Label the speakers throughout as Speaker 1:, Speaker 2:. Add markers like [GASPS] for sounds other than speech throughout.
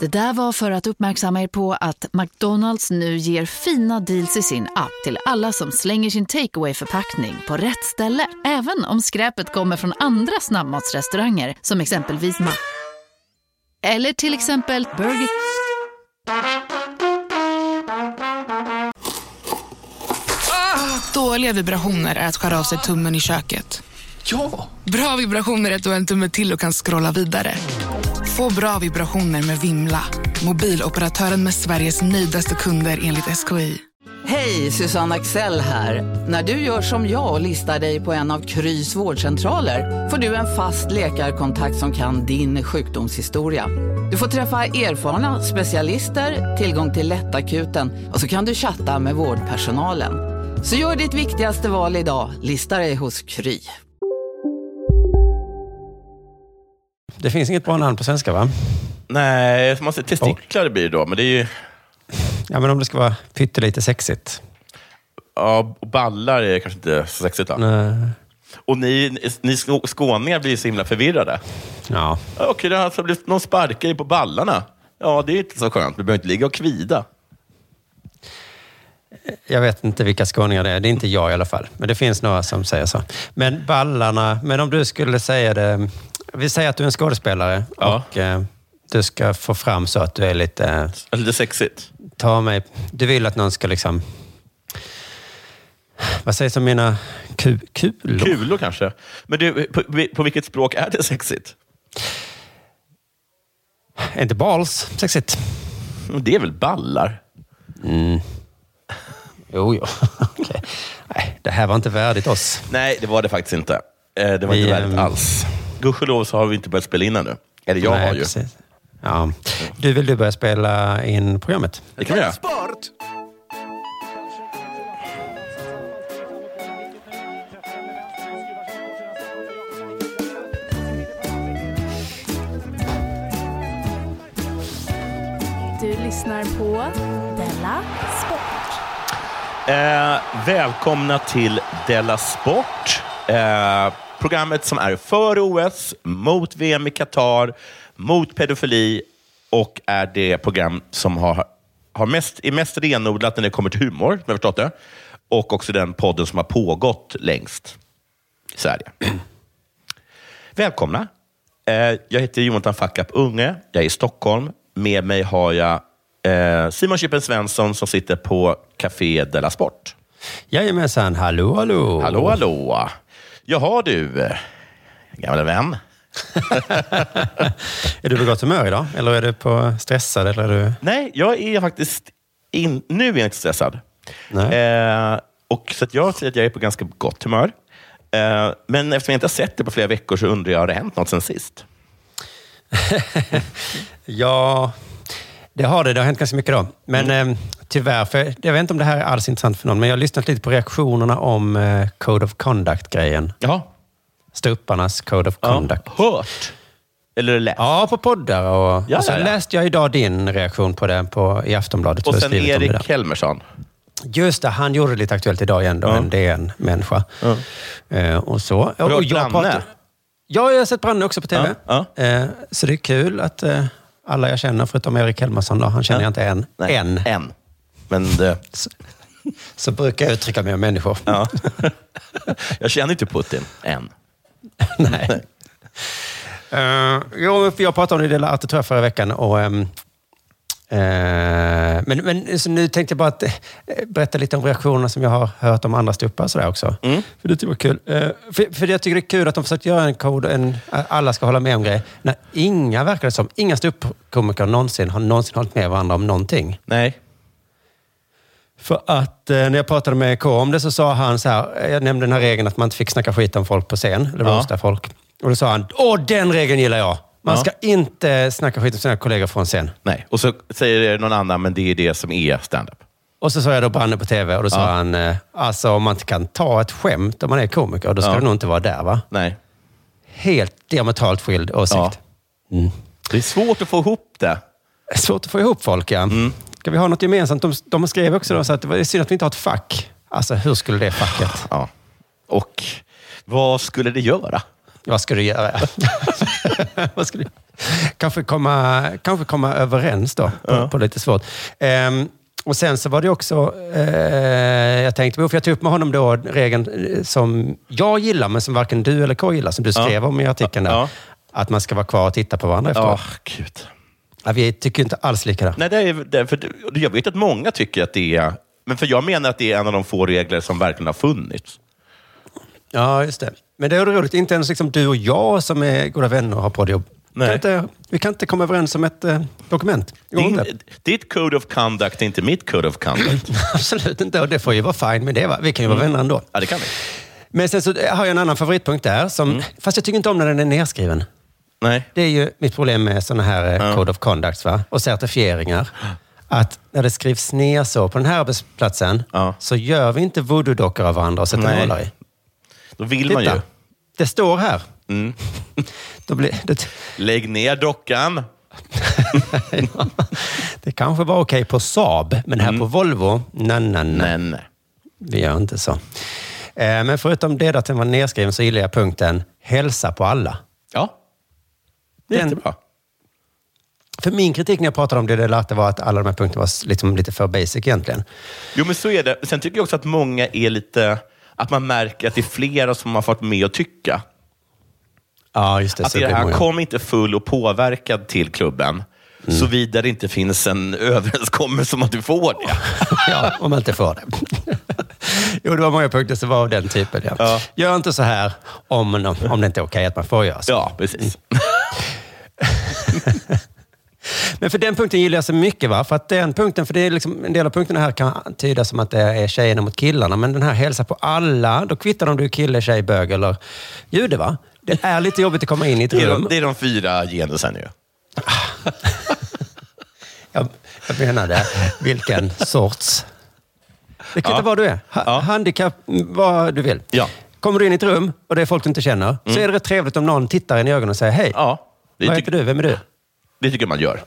Speaker 1: Det där var för att uppmärksamma er på att McDonalds nu ger fina deals i sin app till alla som slänger sin takeaway förpackning på rätt ställe. Även om skräpet kommer från andra snabbmatsrestauranger som exempelvis Ma... Eller till exempel Burger...
Speaker 2: Dåliga vibrationer är att skära av sig tummen i köket.
Speaker 3: Ja!
Speaker 2: Bra vibrationer är att du har en tumme till och kan scrolla vidare. Få bra vibrationer med Vimla. Mobiloperatören med Sveriges nöjdaste kunder enligt SKI.
Speaker 4: Hej, Susanne Axel här. När du gör som jag och listar dig på en av Krys vårdcentraler får du en fast läkarkontakt som kan din sjukdomshistoria. Du får träffa erfarna specialister, tillgång till lättakuten och så kan du chatta med vårdpersonalen. Så gör ditt viktigaste val idag, listar dig hos Kry.
Speaker 5: Det finns inget bra namn på svenska va?
Speaker 3: Nej, man säger Alltså, testiklar blir det då, men det är ju...
Speaker 5: Ja, men om det ska vara pyttelite sexigt.
Speaker 3: Ja, och ballar är kanske inte så sexigt. Då.
Speaker 5: Nej.
Speaker 3: Och ni, ni skå- skåningar blir så himla förvirrade.
Speaker 5: Ja.
Speaker 3: Ja, Okej, det har alltså blivit någon sparkar i på ballarna. Ja, det är inte så skönt. Du behöver inte ligga och kvida.
Speaker 5: Jag vet inte vilka skåningar det är. Det är inte jag i alla fall. Men det finns några som säger så. Men ballarna. Men om du skulle säga det. Vi säger att du är en skådespelare
Speaker 3: Ja.
Speaker 5: och eh, du ska få fram så att du är lite... eh,
Speaker 3: Eller Alltså, Lite sexigt.
Speaker 5: ta mig... Du vill att någon ska liksom... Vad sägs om mina ku, kulor?
Speaker 3: Kulor kanske. Men du, på, på vilket språk är det sexigt?
Speaker 5: Är inte balls sexigt?
Speaker 3: Men Mm, Det är väl ballar?
Speaker 5: Jo, jo. [LAUGHS] Okej. Nej, det här var inte värdigt oss.
Speaker 3: Nej, det var det faktiskt inte. Eh, Det var
Speaker 5: Vi,
Speaker 3: inte värdigt
Speaker 5: ehm,
Speaker 3: alls. Gudskelov så har vi inte börjat spela in ännu. Eller jag
Speaker 5: Nej,
Speaker 3: har ju.
Speaker 5: precis. Ja. Du, vill du börja spela in programmet?
Speaker 3: Det kan vi göra.
Speaker 6: Sport!
Speaker 7: Du lyssnar på Della Sport.
Speaker 3: Eh, välkomna till Della Sport. Eh, programmet som är för OS, mot VM i Qatar, mot pedofili och är det program som har, har mest, är mest renodlat när det kommer till humor, som jag förstått det. Och också den podden som har pågått längst i Sverige. Välkomna. Eh, jag heter Jonathan Fackap Unge. Jag är i Stockholm. Med mig har jag eh, Simon Chippen Svensson som sitter på Café Della Sport.
Speaker 5: Jajamensan, hallå hallå.
Speaker 3: Hallå, hallå. Jaha du, eh, gamla vän.
Speaker 5: Är du på gott humör idag? Eller är du på stressad? Eller är du...
Speaker 3: Nej, jag är faktiskt... In, nu är jag inte stressad.
Speaker 5: Nej.
Speaker 3: Eh, och så att jag säger att jag är på ganska gott humör. Eh, men eftersom jag inte har sett det på flera veckor så undrar jag, har det hänt något sen sist?
Speaker 5: Ja, det har det. Det har hänt ganska mycket då. Men
Speaker 3: Mm.
Speaker 5: eh, tyvärr, för jag vet inte om det här är alls intressant för någon, men jag har lyssnat lite på reaktionerna om eh, Code of Conduct-grejen.
Speaker 3: Ja.
Speaker 5: Ståupparnas Code of Conduct. Ja.
Speaker 3: Hört? Eller läst?
Speaker 5: på poddar och,
Speaker 3: Ja,
Speaker 5: och sen
Speaker 3: ja, ja.
Speaker 5: läste jag idag din reaktion på det på, i Aftonbladet.
Speaker 3: och
Speaker 5: Du har
Speaker 3: sen
Speaker 5: skrivit om det
Speaker 3: Erik
Speaker 5: där.
Speaker 3: Helmersson.
Speaker 5: Just det, han gjorde det lite aktuellt idag igen då, en DN-människa. Eh, och så.
Speaker 3: du
Speaker 5: och
Speaker 3: hört Branne?
Speaker 5: Ja, jag har sett Branne också på TV.
Speaker 3: Ja,
Speaker 5: Eh, så det är kul att eh, alla jag känner, förutom Erik Helmersson, då, han känner jag inte än.
Speaker 3: Nej,
Speaker 5: Än.
Speaker 3: En. Men det,
Speaker 5: Så brukar jag uttrycka mig om människor.
Speaker 3: [LAUGHS] ja. jag känner inte Putin än.
Speaker 5: Nej. Eh, jo, för jag pratade om det i Dela Arte tror jag förra veckan. Och, ehm, eh, men men så nu tänkte jag bara att, eh, berätta lite om reaktionerna som jag har hört om andra ståuppare och sådär också. För det tycker jag var kul. Eh, för, för jag tycker det är kul att de försökt göra en kod, en, alla ska hålla med om grejer. När inga, verkar det som, inga ståuppkomiker någonsin har någonsin hållit med varandra om någonting.
Speaker 3: Nej.
Speaker 5: För att eh, när jag pratade med K om det så sa han så här, eh, jag nämnde den här regeln att man inte fick snacka skit om folk på scen, eller
Speaker 3: Ja.
Speaker 5: roasta folk. Och då sa han, åh den regeln gillar jag! Man
Speaker 3: Ja.
Speaker 5: ska inte snacka skit om sina kollegor från scen.
Speaker 3: Nej. Och så säger någon annan, men det är det som är stand-up.
Speaker 5: Och så sa jag då Branne på TV och då sa
Speaker 3: Ja.
Speaker 5: han, eh, alltså om man inte kan ta ett skämt om man är komiker, då ska
Speaker 3: Ja.
Speaker 5: du nog inte vara där va?
Speaker 3: Nej.
Speaker 5: Helt diametralt skild åsikt.
Speaker 3: Ja. Mm. Det är svårt att få ihop det.
Speaker 5: Eh, Svårt att få ihop folk ja.
Speaker 3: Mm.
Speaker 5: Ska vi ha något gemensamt? De, de skrev också då, så att det var- det är synd att vi inte har ett fack. Alltså hur skulle det facket...
Speaker 3: Ja. Och vad skulle det göra?
Speaker 5: Vad ska du göra? [LAUGHS] Vad ska du... Kanske, komma, kanske komma överens då, på, på lite svårt. Ehm, och sen så var det också, eh, jag tänkte, för jag tog upp med honom då regeln eh, som jag gillar, men som varken du eller K gillar, som du skrev om i artikeln där.
Speaker 3: Ja.
Speaker 5: Att man ska vara kvar och titta på varandra
Speaker 3: Ja,
Speaker 5: efteråt.
Speaker 3: gud.
Speaker 5: Ja, vi tycker ju inte alls lika där.
Speaker 3: Nej, det är, det är, för, det- jag vet att många tycker att det är... Men för jag menar att det är en av de få regler som verkligen har funnits.
Speaker 5: Ja, just det. Men det är roligt, inte ens liksom du och jag som är goda vänner och har poddjobb.
Speaker 3: Nej.
Speaker 5: Kan inte, vi kan inte komma överens om ett eh, dokument. Det går
Speaker 3: Din,
Speaker 5: inte.
Speaker 3: ditt code of conduct är inte mitt code of
Speaker 5: [CLEARS THROAT]
Speaker 3: conduct.
Speaker 5: [LAUGHS] Absolut inte, och det får ju vara fine med det. Va? Vi kan ju vara vänner ändå.
Speaker 3: Mm. ja, det kan vi.
Speaker 5: Men sen så eh, har jag en annan favoritpunkt där, som,
Speaker 3: Mm.
Speaker 5: fast jag tycker inte om när den är nedskriven.
Speaker 3: Nej.
Speaker 5: Det är ju mitt problem med sådana här eh,
Speaker 3: Ja.
Speaker 5: Code of Conducts va? och certifieringar.
Speaker 3: [GASPS]
Speaker 5: Att när det skrivs ner så på den här arbetsplatsen
Speaker 3: Ja.
Speaker 5: så gör vi inte voodoo-dockor av varandra och sätter
Speaker 3: Nej.
Speaker 5: nålar i.
Speaker 3: Då vill man ju. Mm.
Speaker 5: Titta, det står här. [LAUGHS] Då blir, det,
Speaker 3: Lägg ner dockan.
Speaker 5: [LAUGHS] det kanske var okej på Saab, men här
Speaker 3: Mm.
Speaker 5: på Volvo, nej, nej, nej.
Speaker 3: Men
Speaker 5: Vi gör inte så. Eh, Men förutom det att den var nedskriven så gillar jag punkten hälsa på alla.
Speaker 3: ja, det är
Speaker 5: Den-
Speaker 3: jättebra.
Speaker 5: För min kritik när jag pratade om det, det latte var att alla de här punkterna var s- liksom lite för basic egentligen.
Speaker 3: Jo, men så är det. Sen tycker jag också att många är lite... Att man märker att det är flera som har fått med att tycka.
Speaker 5: Ja, just det.
Speaker 3: Att det är det här, kom inte full och påverkad till klubben, såvida det inte finns en [LAUGHS] överenskommelse om att du får det.
Speaker 5: [LAUGHS] ja, om man inte får det. [LAUGHS] jo, det var många punkter som var av den typen. Ja.
Speaker 3: Ja.
Speaker 5: Gör inte så här om, om det inte är okej att man får göra så.
Speaker 3: Ja, precis.
Speaker 5: Men för den punkten gillar jag så mycket. Va? För att den punkten, för det är liksom, en del av punkterna här kan tydas som att det är tjejerna mot killarna. Men den här hälsa på alla, då kvittar de om du är kille, tjej, bög eller jude. Va? Det är lite jobbigt att komma in i ett
Speaker 3: Det är de,
Speaker 5: rum.
Speaker 3: det är de fyra genusen ju.
Speaker 5: Jag, jag menade, vilken sorts... Det kvittar vad du är. Ha,
Speaker 3: Ja.
Speaker 5: Handikapp, m, vad du vill.
Speaker 3: Ja. Mm.
Speaker 5: Kommer du in i ett rum och det är folk du inte känner, så är det rätt trevligt om någon tittar en i ögonen och säger hej.
Speaker 3: Ja, det, typ-
Speaker 5: vad
Speaker 3: tyck-
Speaker 5: heter du? Vem är du?
Speaker 3: det tycker jag man gör.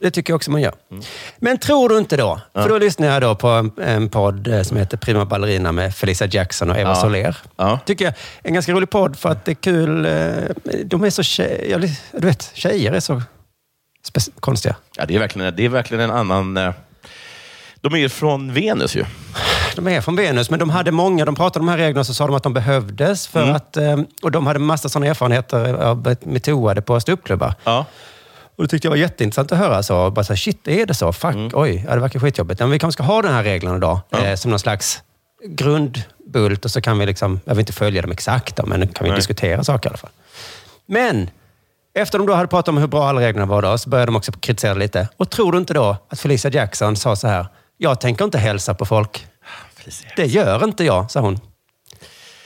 Speaker 5: Det tycker jag också man gör.
Speaker 3: Mm.
Speaker 5: Men tror du inte då? För då lyssnar jag då på en, en podd eh, som heter Prima Ballerina med Felicia Jackson och Eva
Speaker 3: Ja.
Speaker 5: Soler.
Speaker 3: Ja.
Speaker 5: Tycker jag en ganska rolig podd för att det är kul. eh, De är så tje- jag ly- Du vet, tjejer är så spe- konstiga.
Speaker 3: Ja, det, är verkligen, det är verkligen en annan... eh, De är ju från Venus ju.
Speaker 5: De är från Venus, men de hade många. De pratade om de här reglerna så sa de att de behövdes. För
Speaker 3: Mm.
Speaker 5: att, eh, och de hade massa sådana erfarenheter av ett- med toade på ståuppklubbar.
Speaker 3: Ja.
Speaker 5: Och det tyckte jag var jätteintressant att höra. Så, bara så här, shit, är det så? Fuck, oj, ja, det verkar skitjobbigt. Ja, Men vi kanske ska ha den här regeln idag eh, som någon slags grundbult och så kan vi liksom, jag vill inte följa dem exakt, då, men kan vi diskutera saker i alla fall. Men efter de då hade pratat om hur bra alla reglerna var då, så började de också kritisera lite. Och tror du inte då att Felicia Jackson sa så här, jag tänker inte hälsa på folk.
Speaker 3: Felicia.
Speaker 5: Det gör inte jag, sa hon.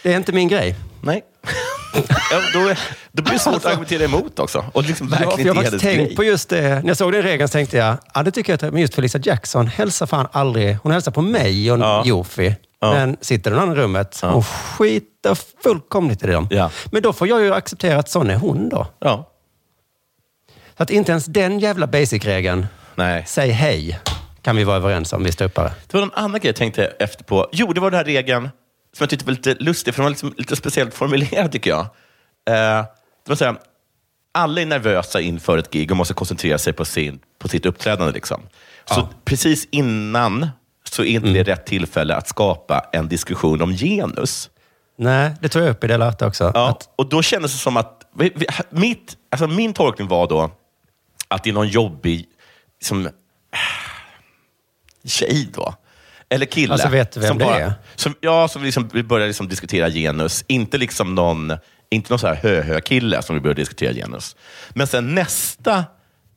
Speaker 5: Det är inte min grej.
Speaker 3: Nej. [LAUGHS] ja, då, är- då blir det svårt att argumentera emot också. Och liksom
Speaker 5: Ja, för
Speaker 3: verkligen
Speaker 5: jag har
Speaker 3: inte
Speaker 5: faktiskt tänkt på
Speaker 3: grej.
Speaker 5: just det. När jag såg den regeln så tänkte jag, ja det tycker jag att men just Felicia Jackson hälsar fan aldrig. Hon hälsar på mig och
Speaker 3: Ja.
Speaker 5: Jofi. Men sitter någon annan i rummet
Speaker 3: Ja.
Speaker 5: och skiter fullkomligt i det.
Speaker 3: Ja.
Speaker 5: Men då får jag ju acceptera att sån är hon då.
Speaker 3: Ja.
Speaker 5: Så att inte ens den jävla basic-regeln,
Speaker 3: Nej.
Speaker 5: säg hej, kan vi vara överens om vi ståuppare.
Speaker 3: Det var en annan grej jag tänkte efter på. Jo, det var den här regeln som jag tyckte var lite lustig, för den var liksom lite speciellt formulerad tycker jag. Eh, det var så här, alla är nervösa inför ett gig och måste koncentrera sig på, sin, på sitt uppträdande. Liksom. Så precis innan så är inte det rätt tillfälle att skapa en diskussion om genus.
Speaker 5: Nej, det tog jag upp i Del Arte också.
Speaker 3: Ja,
Speaker 5: Att,
Speaker 3: och då kändes det som att... vi- vi- Mitt, alltså min tolkning var då att det är någon jobbig som, [SIGHS] tjej då. Eller kille.
Speaker 5: Alltså, vet du vem
Speaker 3: som
Speaker 5: det är?
Speaker 3: Som, ja, som liksom, vi börjar liksom diskutera genus. Inte liksom någon, inte någon så här hö-hö-kille som vi börjar diskutera genus. Men sen nästa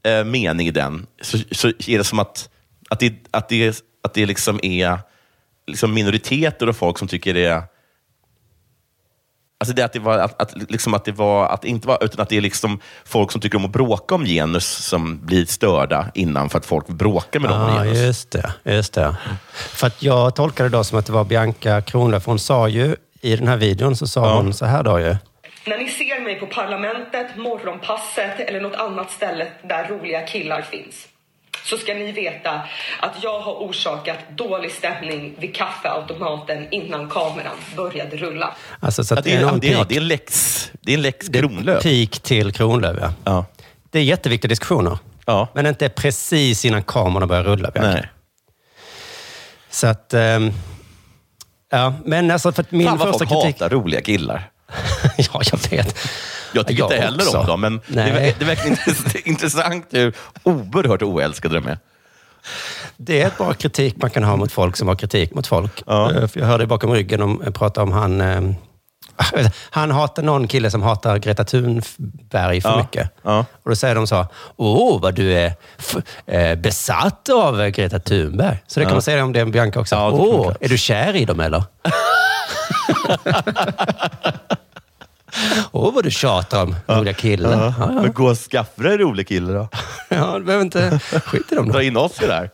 Speaker 3: eh, mening i den, så, så är det som att, att, det, att, det, att det liksom är liksom minoriteter och folk som tycker det är Alltså det att det var, att, att, liksom att det var, att det inte var, utan att det är liksom folk som tycker om att bråka om genus som blir störda innan för att folk bråkar med dem om
Speaker 5: Ja,
Speaker 3: genus.
Speaker 5: Ah, just det. Just det. För att jag tolkade det då som att det var Bianca Kronlöf. Hon sa ju, i den här videon så sa hon så här då ju.
Speaker 6: När ni ser mig på Parlamentet, Morgonpasset eller något annat ställe där roliga killar finns. så ska ni veta att jag har orsakat dålig stämning vid kaffeautomaten innan kameran började rulla.
Speaker 5: Alltså, så
Speaker 3: Ja,
Speaker 5: att
Speaker 3: det, är, ja,
Speaker 5: enorm
Speaker 3: det, är, ja,
Speaker 5: peak-
Speaker 3: det är en lex, det är en lex
Speaker 5: det är
Speaker 3: Kronlöf.
Speaker 5: Peak till Kronlöv, ja.
Speaker 3: Ja.
Speaker 5: Det är jätteviktiga diskussioner.
Speaker 3: Ja.
Speaker 5: Men inte precis innan kamerorna börjar rulla, Bianca.
Speaker 3: Nej.
Speaker 5: Så att... ehm, ja, men alltså för att min
Speaker 3: Fan vad
Speaker 5: första
Speaker 3: folk
Speaker 5: kritik...
Speaker 3: hatar roliga killar.
Speaker 5: [LAUGHS] ja, jag vet.
Speaker 3: Jag tycker inte heller
Speaker 5: också.
Speaker 3: om dem, men det,
Speaker 5: Nej,
Speaker 3: är- det är verkligen intress- [LAUGHS] intressant hur oerhört oälskade de är.
Speaker 5: Det är ett bra kritik man kan ha mot folk som har kritik mot folk. Eh, För jag hörde bakom ryggen om, eh, prata om han... ehm, [LAUGHS] han hatar någon kille som hatar Greta Thunberg för
Speaker 3: Ja,
Speaker 5: mycket.
Speaker 3: ja.
Speaker 5: Och då säger de så, åh vad du är f- eh, besatt av eh, Greta Thunberg. Så det kan man säga om det är en Bianca också.
Speaker 3: Ja, det kan man
Speaker 5: åh,
Speaker 3: klart.
Speaker 5: är du kär i dem
Speaker 3: [LAUGHS]
Speaker 5: eller? åh vad du tjatar om roliga killar. Ja, ja.
Speaker 3: Men gå och skaffa dig en rolig kille då.
Speaker 5: ja, du behöver inte... Skit i dem då.
Speaker 3: Dra in oss i det här.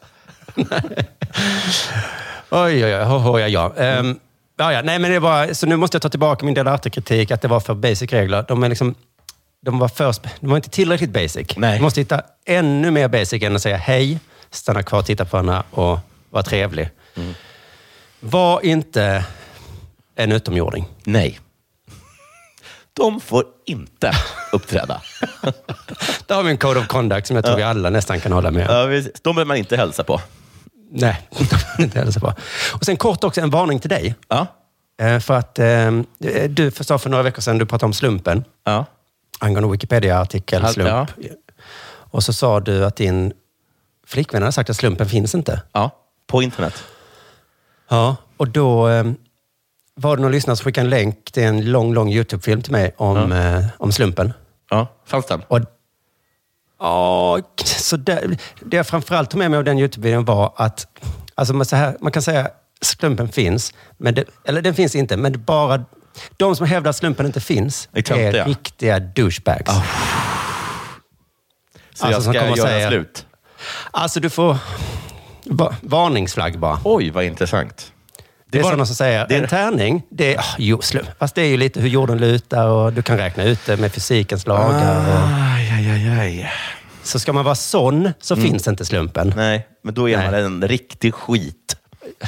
Speaker 5: Oj, oj, oj. Ho, ho, ja, ja. Ehm, ja, ja. Nej, men det var, så nu måste jag ta tillbaka min del arte-kritik, att det var för basic regler. De, är liksom, de, var för, sp- de var inte tillräckligt basic.
Speaker 3: Nej.
Speaker 5: Du måste hitta ännu mer basic än att säga hej, stanna kvar och titta på henne och vara trevlig.
Speaker 3: Mm.
Speaker 5: Var inte en utomjording.
Speaker 3: Nej. De får inte uppträda.
Speaker 5: Där har vi en code of conduct som jag tror vi alla nästan kan hålla med om.
Speaker 3: Ja, precis. De behöver man inte hälsa på.
Speaker 5: Nej, [LAUGHS] inte heller så bra. Och sen kort också en varning till dig.
Speaker 3: Ja.
Speaker 5: Eh, För att eh, du sa för några veckor sedan, du pratade om slumpen.
Speaker 3: Ja.
Speaker 5: angående Wikipedia-artikel,
Speaker 3: Al-
Speaker 5: slump. Och så sa du att din flickvän hade sagt att slumpen finns inte.
Speaker 3: ja. På internet.
Speaker 5: Ja. Och då eh, var det någon lyssnare som skickade en länk till en lång, lång YouTube-film till mig om, eh, om slumpen.
Speaker 3: Ja. Fanns den?
Speaker 5: Och, ja, så det, det jag framförallt tog med mig av den YouTube-videon var att alltså man, så här, man kan säga slumpen finns, men det, eller den finns inte, men det bara de som hävdar att slumpen inte finns
Speaker 3: Är töntiga.
Speaker 5: är riktiga douchebags.
Speaker 3: Så
Speaker 5: Alltså, som
Speaker 3: jag
Speaker 5: kommer
Speaker 3: ska göra
Speaker 5: säga-
Speaker 3: slut.
Speaker 5: Alltså du får... Va- Varningsflagg bara.
Speaker 3: Oj, vad intressant.
Speaker 5: Det, är
Speaker 3: var-
Speaker 5: sådana som säger,
Speaker 3: det-
Speaker 5: en tärning, det är... ah, jo, slum. Fast det är ju lite hur jorden lutar och du kan räkna ut det med fysikens lagar. Och,
Speaker 3: Aj, aj, aj, aj.
Speaker 5: så ska man vara sån så
Speaker 3: Mm.
Speaker 5: finns inte slumpen.
Speaker 3: Nej, men då är
Speaker 5: Nej.
Speaker 3: man en riktig skit.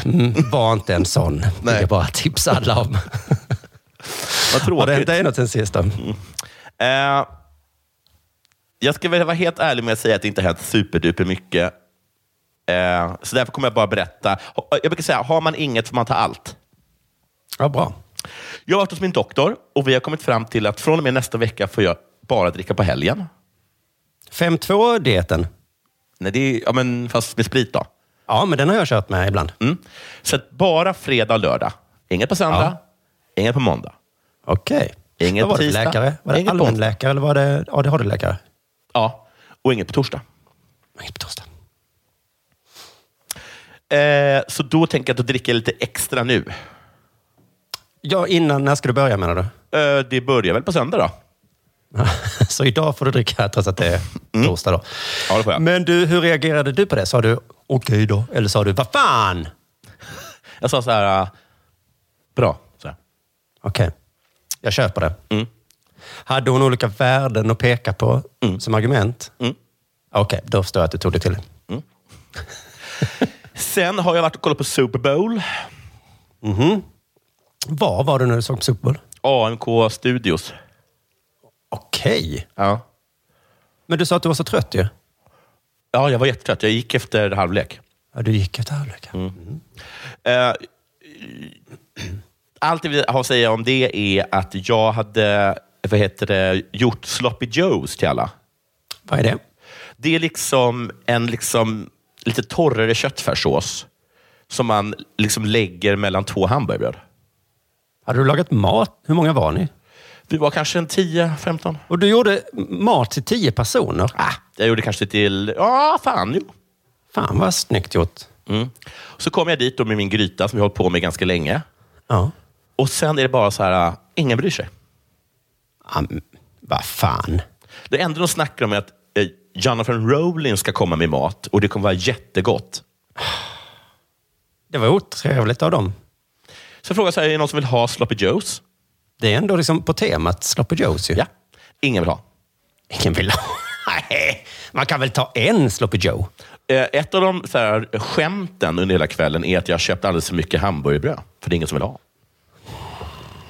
Speaker 5: Mm, var inte en sån. Det är
Speaker 3: Nej.
Speaker 5: bara tips alla
Speaker 3: [LAUGHS]
Speaker 5: om.
Speaker 3: Vad
Speaker 5: Har det hänt
Speaker 3: tråkigt.
Speaker 5: dig något sen sist då?
Speaker 3: Eh, jag ska väl vara helt ärlig med att säga att det inte har hänt superduper mycket. Eh, så därför kommer jag bara berätta. Ha- Jag brukar säga, har man inget får man ta allt.
Speaker 5: Ja, bra.
Speaker 3: Jag har varit hos min doktor och vi har kommit fram till att från och med nästa vecka får jag bara dricka på helgen.
Speaker 5: 5-2-dieten.
Speaker 3: Nej, det är, ja, men, fast med sprit då.
Speaker 5: Ja, men den har jag kört med ibland.
Speaker 3: Mm. Så att bara fredag och lördag. Inget på söndag, inget på måndag.
Speaker 5: Okej.
Speaker 3: Inget
Speaker 5: Vad var det för
Speaker 3: tisdag.
Speaker 5: läkare? Var det
Speaker 3: Inget på onsdag.
Speaker 5: allmänläkare eller var det ADHD-läkare?
Speaker 3: Ja, och inget på torsdag.
Speaker 5: Inget på torsdag.
Speaker 3: Eh, så då tänker jag att då dricker jag lite extra nu.
Speaker 5: Ja, innan, när ska du börja menar du?
Speaker 3: Eh, det börjar väl på söndag då?
Speaker 5: [LAUGHS] Så idag får du dricka trots att det är torsdag då.
Speaker 3: Mm. Ja, det får jag.
Speaker 5: Men du, hur reagerade du på det? Sa du okej då? Eller sa du vad fan?
Speaker 3: Jag sa så här, eh, bra. Så här.
Speaker 5: Okej, jag köper det.
Speaker 3: Mm.
Speaker 5: Hade hon olika värden att peka på som argument?
Speaker 3: Mm.
Speaker 5: Okej, då förstår jag att du tog det till dig.
Speaker 3: Sen har jag varit och kollat på Super Bowl.
Speaker 5: Var var du när du såg Super Bowl?
Speaker 3: AMK Studios.
Speaker 5: Okej.
Speaker 3: Ja.
Speaker 5: Men du sa att du var så trött ju.
Speaker 3: ja, jag var jättetrött. Jag gick efter halvlek.
Speaker 5: Ja, du gick efter halvlek. Mm.
Speaker 3: Eh, allt jag vill ha att säga om det är att jag hade vad heter det, gjort sloppy joes till alla.
Speaker 5: Vad är det?
Speaker 3: Det är liksom en liksom, lite torrare köttfärssås som man liksom lägger mellan två hamburgerbröd.
Speaker 5: Hade du lagat mat? Hur många var ni?
Speaker 3: Vi var kanske en 10-15.
Speaker 5: Och du gjorde mat till tio personer.
Speaker 3: Ah, jag gjorde kanske till... Ja, fan jo.
Speaker 5: Fan vad snyggt gjort.
Speaker 3: Mm. Så kom jag dit då med min gryta som jag har hållit på med ganska länge.
Speaker 5: Ja.
Speaker 3: Och sen är det bara så här, ah, ingen bryr sig.
Speaker 5: Ja, men vad fan.
Speaker 3: Det enda de snackar om är att eh, Jonathan Rowling ska komma med mat och det kommer vara jättegott.
Speaker 5: Det var otrevligt av dem.
Speaker 3: Så frågar jag så här, är det någon som vill ha Sloppy Joes?
Speaker 5: Det är ändå liksom på temat Sloppy Joes ju.
Speaker 3: Ja. Ingen vill ha.
Speaker 5: Ingen vill ha. [LAUGHS] Nej, man kan väl ta en Sloppy Joe?
Speaker 3: Eh, Ett av de så här, skämten under hela kvällen är att jag köpte alldeles för mycket hamburgerbröd, för det är ingen som vill ha.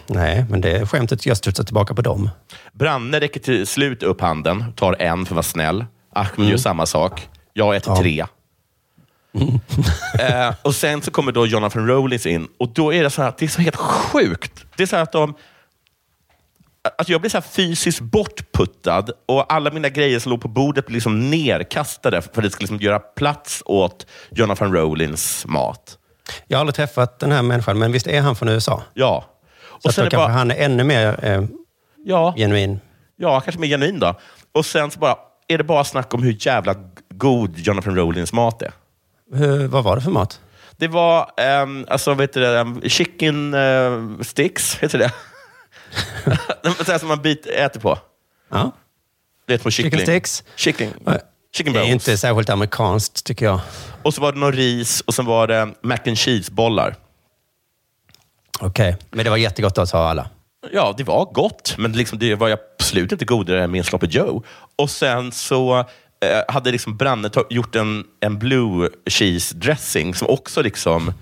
Speaker 5: Nej, men det skämtet, jag studsar tillbaka på dem.
Speaker 3: Branne räcker till slut upp handen, tar en för att vara snäll. Ahmed
Speaker 5: Mm.
Speaker 3: gör samma sak. Jag äter tre.
Speaker 5: Mm.
Speaker 3: eh, och sen så kommer då Jonathan Rollins in och då är det så här att det är så helt sjukt. Det är så här att de... Att jag blir så här fysiskt bortputtad och alla mina grejer som låg på bordet blir liksom nerkastade för att det ska liksom göra plats åt Jonathan Rollins mat.
Speaker 5: Jag har aldrig träffat den här människan, men visst är han från USA?
Speaker 3: Ja.
Speaker 5: Så
Speaker 3: Och
Speaker 5: att då
Speaker 3: sen är det
Speaker 5: kanske
Speaker 3: bara,
Speaker 5: han är ännu mer eh,
Speaker 3: ja,
Speaker 5: genuin.
Speaker 3: Ja, kanske mer genuin då. Och sen så bara, är det bara snack om hur jävla god Jonathan Rollins mat är.
Speaker 5: Hur, vad var det för mat?
Speaker 3: Det var, ehm, alltså vet du det, ehm, chicken eh, sticks, heter det? [LAUGHS] Sådär som man bit, äter på.
Speaker 5: Ja.
Speaker 3: Det är på kyckling.
Speaker 5: Chicken sticks?
Speaker 3: Chicken,
Speaker 5: Nej.
Speaker 3: chicken
Speaker 5: Det är
Speaker 3: bones.
Speaker 5: inte särskilt amerikanskt, tycker jag.
Speaker 3: Och så var det någon ris och sen var det mac and cheese-bollar.
Speaker 5: Okej, men det var jättegott då, sa alla.
Speaker 3: Ja, det var gott, men liksom det var ju absolut inte godare än min Sloppy Joe. Och sen så eh, hade liksom Branne ta- gjort en, en blue cheese dressing som också liksom...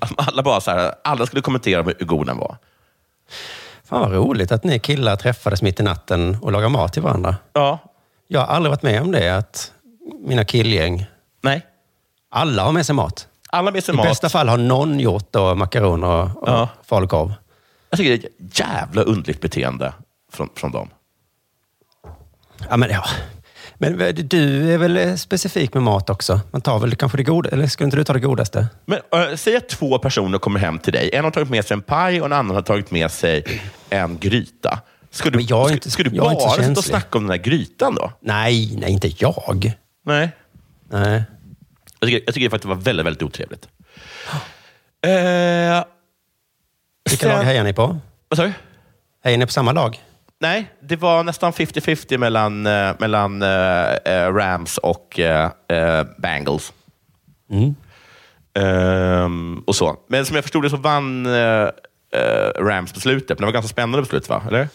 Speaker 3: [LAUGHS] Alla bara så här, alla skulle kommentera hur god den var.
Speaker 5: Fan vad roligt att ni killar träffades mitt i natten och lagade mat till varandra.
Speaker 3: Ja.
Speaker 5: Jag har aldrig varit med om det, att mina killgäng,
Speaker 3: Nej.
Speaker 5: alla har med sig mat.
Speaker 3: Alla med sig
Speaker 5: I
Speaker 3: mat.
Speaker 5: bästa fall har någon gjort då makaroner och, och
Speaker 3: Ja.
Speaker 5: falukorv.
Speaker 3: Jag tycker det är ett jävla underligt beteende från, från dem.
Speaker 5: Ja, men ja. Men eh, du är väl eh, specifik med mat också? Man tar väl kanske det goda, eller skulle inte du ta det godaste?
Speaker 3: Men äh, säg att två personer kommer hem till dig. En har tagit med sig en paj och en annan har tagit med sig en gryta. Ska du,
Speaker 5: Men jag är inte-
Speaker 3: ska, ska du
Speaker 5: jag är inte så
Speaker 3: bara sitta och
Speaker 5: känslig.
Speaker 3: snacka om den här grytan då?
Speaker 5: Nej, nej, inte jag.
Speaker 3: Nej.
Speaker 5: Nej.
Speaker 3: Jag tycker, jag tycker faktiskt det var väldigt, väldigt otrevligt. Eh,
Speaker 5: Vilka lag hejar ni på?
Speaker 3: Vad sa du?
Speaker 5: Hejar ni på samma lag?
Speaker 3: Nej, det var nästan 50-50 mellan, eh, mellan eh, eh, Rams och eh, eh, Bengals.
Speaker 5: Mm.
Speaker 3: Ehm, och så. Men som jag förstod det så vann eh, eh, Rams beslutet. Men det var ganska spännande beslut, va? Eller?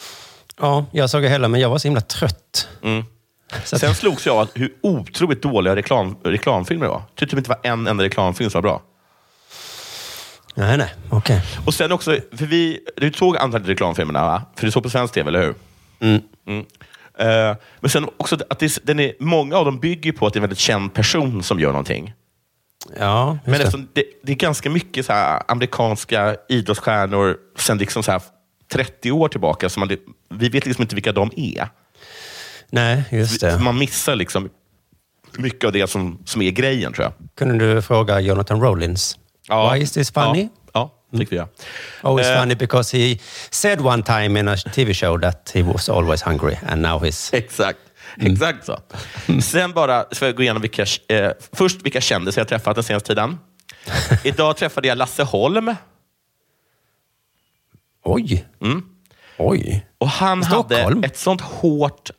Speaker 5: Ja, jag såg det heller, men jag var så himla trött. Så att,
Speaker 3: Mm. Sen slogs jag av att hur otroligt dåliga reklam, reklamfilmer det var. Jag tyckte det inte var en enda reklamfilm som var bra.
Speaker 5: nej, nej, okej.
Speaker 3: Och sen också, för vi, du såg antalet reklamfilmerna, va? För du såg på svensk tv, eller hur? Mm. Eh, men sen också att det, den är, många av dem bygger på att det är en väldigt känd person som gör någonting.
Speaker 5: Ja, just
Speaker 3: Men
Speaker 5: det.
Speaker 3: eftersom det, det är ganska mycket så här, amerikanska idrottsstjärnor sen liksom så här 30 år tillbaka. Så man, det- vi vet liksom inte vilka de är.
Speaker 5: Nej, just
Speaker 3: Så
Speaker 5: det.
Speaker 3: man missar liksom mycket av det som, som är grejen, tror jag.
Speaker 5: Kunde du fråga Jonathan Rollins? Why is this funny?
Speaker 3: Ja, ja fick vi göra.
Speaker 5: Oh, it's
Speaker 3: Eh.
Speaker 5: funny because he said one time in a TV show that he was always hungry and now he's...
Speaker 3: [LAUGHS] Exakt. Exakt så. Sen bara, så får jag gå igenom vilka, eh, först vilka kändisar jag träffat den senaste tiden. Idag träffade jag Lasse Holm.
Speaker 5: Oj! Oj!
Speaker 3: Och han
Speaker 5: Stockholm?
Speaker 3: hade ett sånt hårt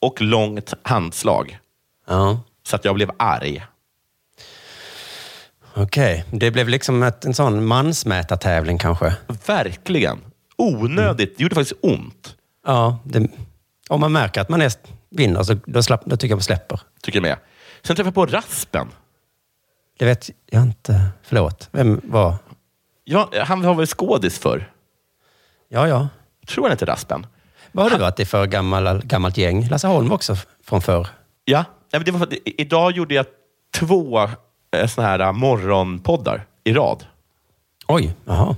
Speaker 3: och långt handslag
Speaker 5: Ja,
Speaker 3: så att jag blev arg.
Speaker 5: okej. Det blev liksom ett, en sån mansmätartävling kanske.
Speaker 3: Verkligen. Onödigt. Det gjorde faktiskt ont.
Speaker 5: Ja, det, om man märker att man är, vinner så då, slapp, då tycker jag man släpper.
Speaker 3: Tycker jag med. Sen träffade jag på Raspen.
Speaker 5: Det vet jag inte. Förlåt. Vem var...
Speaker 3: Ja, han har väl skådis för.
Speaker 5: Ja, ja.
Speaker 3: Tror han heter Raspen?
Speaker 5: Vad har du varit i för gammal, gammalt gäng? Lasse Holm var också från förr.
Speaker 3: Ja. Nej, men det var för att, i- idag gjorde jag två eh, såna här eh, morgonpoddar i rad.
Speaker 5: Oj, jaha.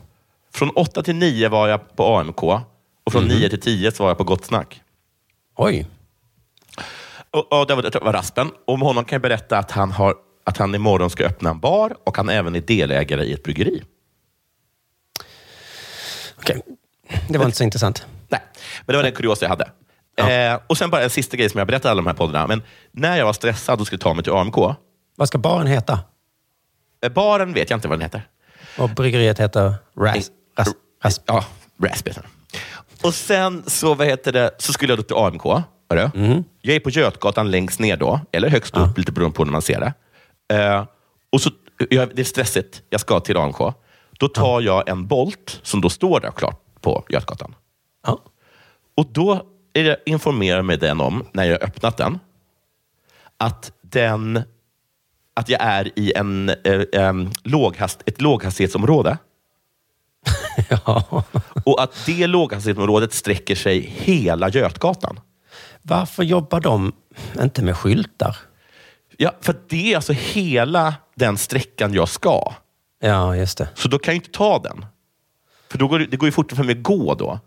Speaker 3: Från 8 till 9 var jag på AMK och från 9 till 10 så var jag på Gott Snack.
Speaker 5: Oj.
Speaker 3: Och, och det, var, det var Raspen. Om honom kan jag berätta att han, har, att han imorgon ska öppna en bar och han även är delägare i ett bryggeri.
Speaker 5: Okej. Det var inte så intressant.
Speaker 3: Nej, men det var den kuriosa jag hade. Eh, och sen bara en sista grej som jag berättade i alla de här poddarna. Men när jag var stressad och skulle ta mig till AMK.
Speaker 5: Vad ska baren heta?
Speaker 3: eh, Baren vet jag inte vad den heter.
Speaker 5: Och bryggeriet heter Ras... Ras, ras.
Speaker 3: Ja, Rasp heter den. Och sen så, vad heter det, så skulle jag då till AMK. Hörru.
Speaker 5: Mm.
Speaker 3: Jag är på Götgatan längst ner då, eller högst upp, lite beroende på när man ser det. Eh, och så, jag, det är stressigt, jag ska till AMK. Då tar jag en Bolt, som då står där klart på Götgatan.
Speaker 5: Ja.
Speaker 3: Och då är det- informerar mig den om, när jag har öppnat den, att, den, att jag är i en, eh, em, låghast, ett låghastighetsområde.
Speaker 5: Ja.
Speaker 3: Och att det låghastighetsområdet sträcker sig hela Götgatan.
Speaker 5: Varför jobbar de inte med skyltar?
Speaker 3: Ja, för att det är alltså hela den sträckan jag ska.
Speaker 5: Ja, just det.
Speaker 3: Så då kan jag inte ta den. För då går det, det går ju fortare för mig att gå då.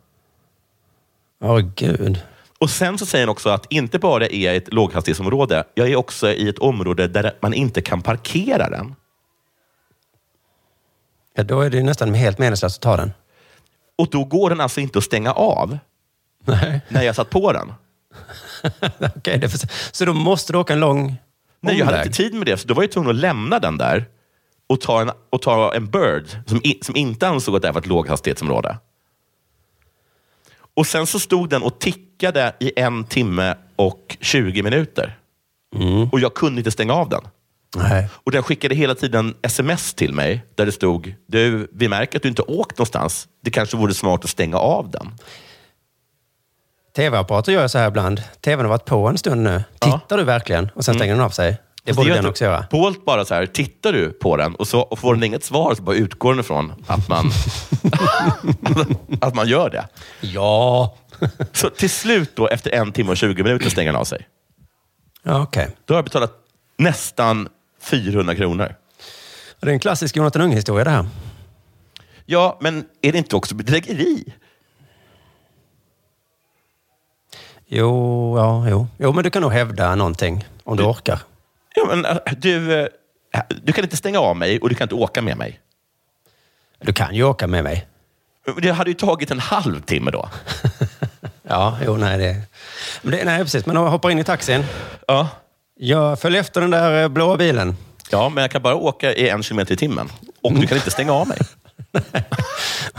Speaker 5: Åh, gud.
Speaker 3: Och sen så säger han också att inte bara är jag i ett låghastighetsområde, jag är också i ett område där man inte kan parkera den.
Speaker 5: Ja, då är det ju nästan helt meningslöst att ta den. [LAUGHS]
Speaker 3: Och då går den alltså inte att stänga av
Speaker 5: Nej.
Speaker 3: när jag satt på den.
Speaker 5: Okej, det för... Så då måste du åka en lång
Speaker 3: Nej, jag hade
Speaker 5: omväg.
Speaker 3: inte tid med det, så då var jag tvungen att lämna den där och ta en, och ta en Bird som, i, som inte ansåg att det här var ett låghastighetsområde. Och sen så stod den och tickade i en timme och 20 minuter. Och jag kunde inte stänga av den.
Speaker 5: Nej.
Speaker 3: Och den skickade hela tiden sms till mig där det stod, du, vi märker att du inte åkt någonstans. Det kanske vore smart att stänga av den.
Speaker 5: Tv-apparater gör jag så här ibland. Tvn har varit på en stund nu.
Speaker 3: Ja.
Speaker 5: Tittar du verkligen? Och sen stänger den av sig. Mm. Alltså, Det
Speaker 3: Fast
Speaker 5: borde
Speaker 3: Alltså, gör
Speaker 5: den
Speaker 3: inte-
Speaker 5: också göra.
Speaker 3: Polt bara så här, tittar du på den och, så, och får den inget svar så bara utgår den ifrån
Speaker 5: [LAUGHS]
Speaker 3: att man, att man gör det.
Speaker 5: Ja. [LAUGHS]
Speaker 3: Så till slut då, efter en timme och 20 minuter stänger den av sig.
Speaker 5: ja Okej.
Speaker 3: Då har jag betalat nästan 400 kronor.
Speaker 5: Det är en klassisk Jonathan Unge-historia det här.
Speaker 3: Ja, men är det inte också bedrägeri?
Speaker 5: Jo, ja, jo. Jo, men du kan nog hävda någonting om du orkar.
Speaker 3: Ja, men, äh, du, äh, du kan inte stänga av mig och du kan inte åka med mig.
Speaker 5: Du kan ju åka med mig.
Speaker 3: Det hade ju tagit en halvtimme då.
Speaker 5: Ja, jo, nej, det... Men det nej, precis. Men jag hoppar in i taxin.
Speaker 3: Ja.
Speaker 5: Jag följer efter den där eh, blåa bilen.
Speaker 3: ja, men jag kan bara åka i en kilometer i timmen. Och du kan inte stänga av mig.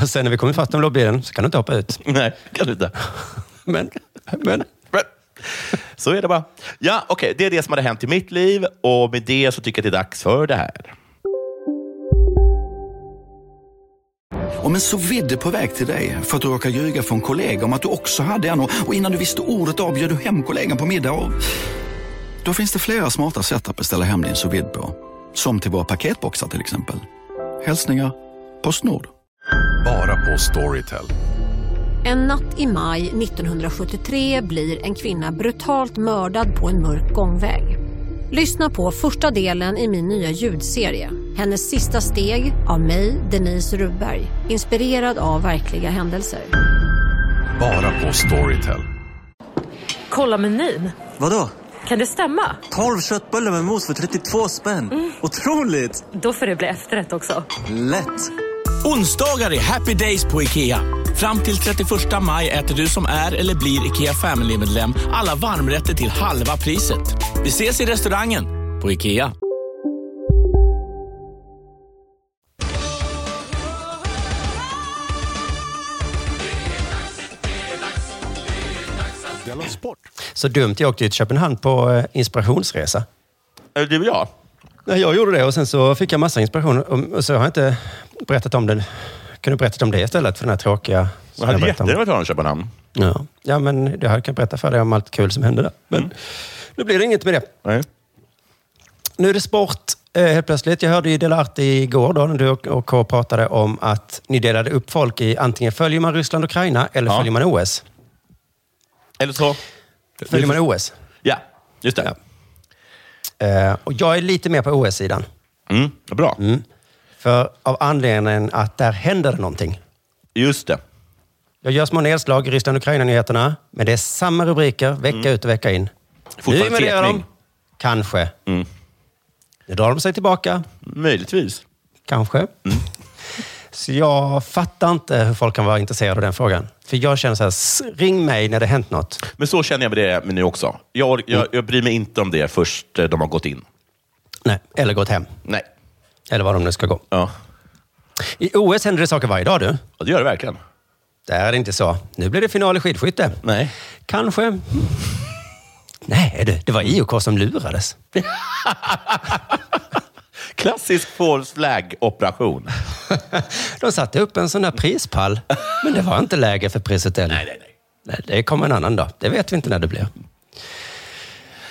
Speaker 5: Och sen när vi kommer fast den blå bilen så kan du inte hoppa ut.
Speaker 3: [LAUGHS] Nej, kan du inte.
Speaker 5: Men, men...
Speaker 3: Men, Så är det bara. Ja, okej. Det är det som hade hänt i mitt liv och med det så tycker jag att det är dags för det här.
Speaker 8: Om en så vidde på väg till dig för att du råkar ljuga från kollega om att du också hade en och och innan du visste ordet av bjöd du hem kollegan på middag och... Då finns det flera smarta sätt att beställa hem din sous vide på. Som till våra paketboxar till exempel. Hälsningar Postnord.
Speaker 9: Bara på Storytel.
Speaker 10: En natt i maj 1973 blir en kvinna brutalt mördad på en mörk gångväg. Lyssna på första delen i min nya ljudserie. Hennes sista steg av mig, Denise Rubberg. Inspirerad av verkliga händelser.
Speaker 9: Bara på Storytel.
Speaker 11: Kolla menyn.
Speaker 12: Vadå?
Speaker 11: Kan det stämma?
Speaker 12: 12 köttbullar med mos för 32 spänn.
Speaker 8: Mm.
Speaker 12: Otroligt!
Speaker 11: Då får det bli efterrätt också.
Speaker 12: Lätt!
Speaker 13: Onsdagar är happy days på IKEA. Fram till 31 maj äter du som är eller blir IKEA Family-medlem alla varmrätter till halva priset. Vi ses i restaurangen på IKEA.
Speaker 9: Della Sport.
Speaker 5: Så dumt. Jag åkte ju till Köpenhamn på eh, inspirationsresa.
Speaker 3: Är det Du och jag?
Speaker 5: Nej, jag gjorde det och sen så fick jag massa inspiration. Och- Och så har jag inte berättat om den. Kunde berättat om det istället för den här tråkiga...
Speaker 3: Jag
Speaker 5: som
Speaker 3: hade
Speaker 5: jag berättade
Speaker 3: jättegärna
Speaker 5: om.
Speaker 3: velat ha en Köpenhamn.
Speaker 5: Ja. ja, men jag hade kunnat berätta för dig om allt kul som hände där. Men nu blir det inget med det.
Speaker 3: Nej.
Speaker 5: Nu är det sport eh, helt plötsligt. Jag hörde ju Delarte igår då, när du och och K pratade om att ni delade upp folk i antingen följer man Ryssland och Ukraina eller
Speaker 3: Ja.
Speaker 5: följer man OS.
Speaker 3: Eller så...
Speaker 5: Följer man OS.
Speaker 3: Ja, just det.
Speaker 5: Eh, och jag är lite mer på OS-sidan.
Speaker 3: Mm, bra.
Speaker 5: För av anledningen att där händer det någonting.
Speaker 3: Just det.
Speaker 5: Jag gör små nedslag i Ryssland och Ukraina-nyheterna, men det är samma rubriker vecka ut och vecka in.
Speaker 3: Mm. Fortfarande Mm.
Speaker 5: invaderar
Speaker 3: tätning.
Speaker 5: Kanske. Nu drar de sig tillbaka.
Speaker 3: Möjligtvis.
Speaker 5: Kanske. Så jag fattar inte hur folk kan vara intresserade av den frågan. För jag känner så här, "S- ring mig när det hänt något.
Speaker 3: Men så känner jag med det med nu också. Jag, jag, jag bryr mig inte om det först eh, de har gått in.
Speaker 5: Nej, eller gått hem.
Speaker 3: Nej.
Speaker 5: Eller var de nu ska gå.
Speaker 3: Ja,
Speaker 5: I OS händer det saker varje dag du.
Speaker 3: ja det gör det verkligen.
Speaker 5: Där är det inte så. Nu blir det final i skidskytte.
Speaker 3: Nej.
Speaker 5: Kanske. Nej du, det var IOK som lurades.
Speaker 3: Klassisk false flag-operation.
Speaker 5: De satte upp en sån där prispall, men det var inte läge för priset än.
Speaker 3: nej, nej.
Speaker 5: Nej, det kommer en annan dag. Det vet vi inte när det blir.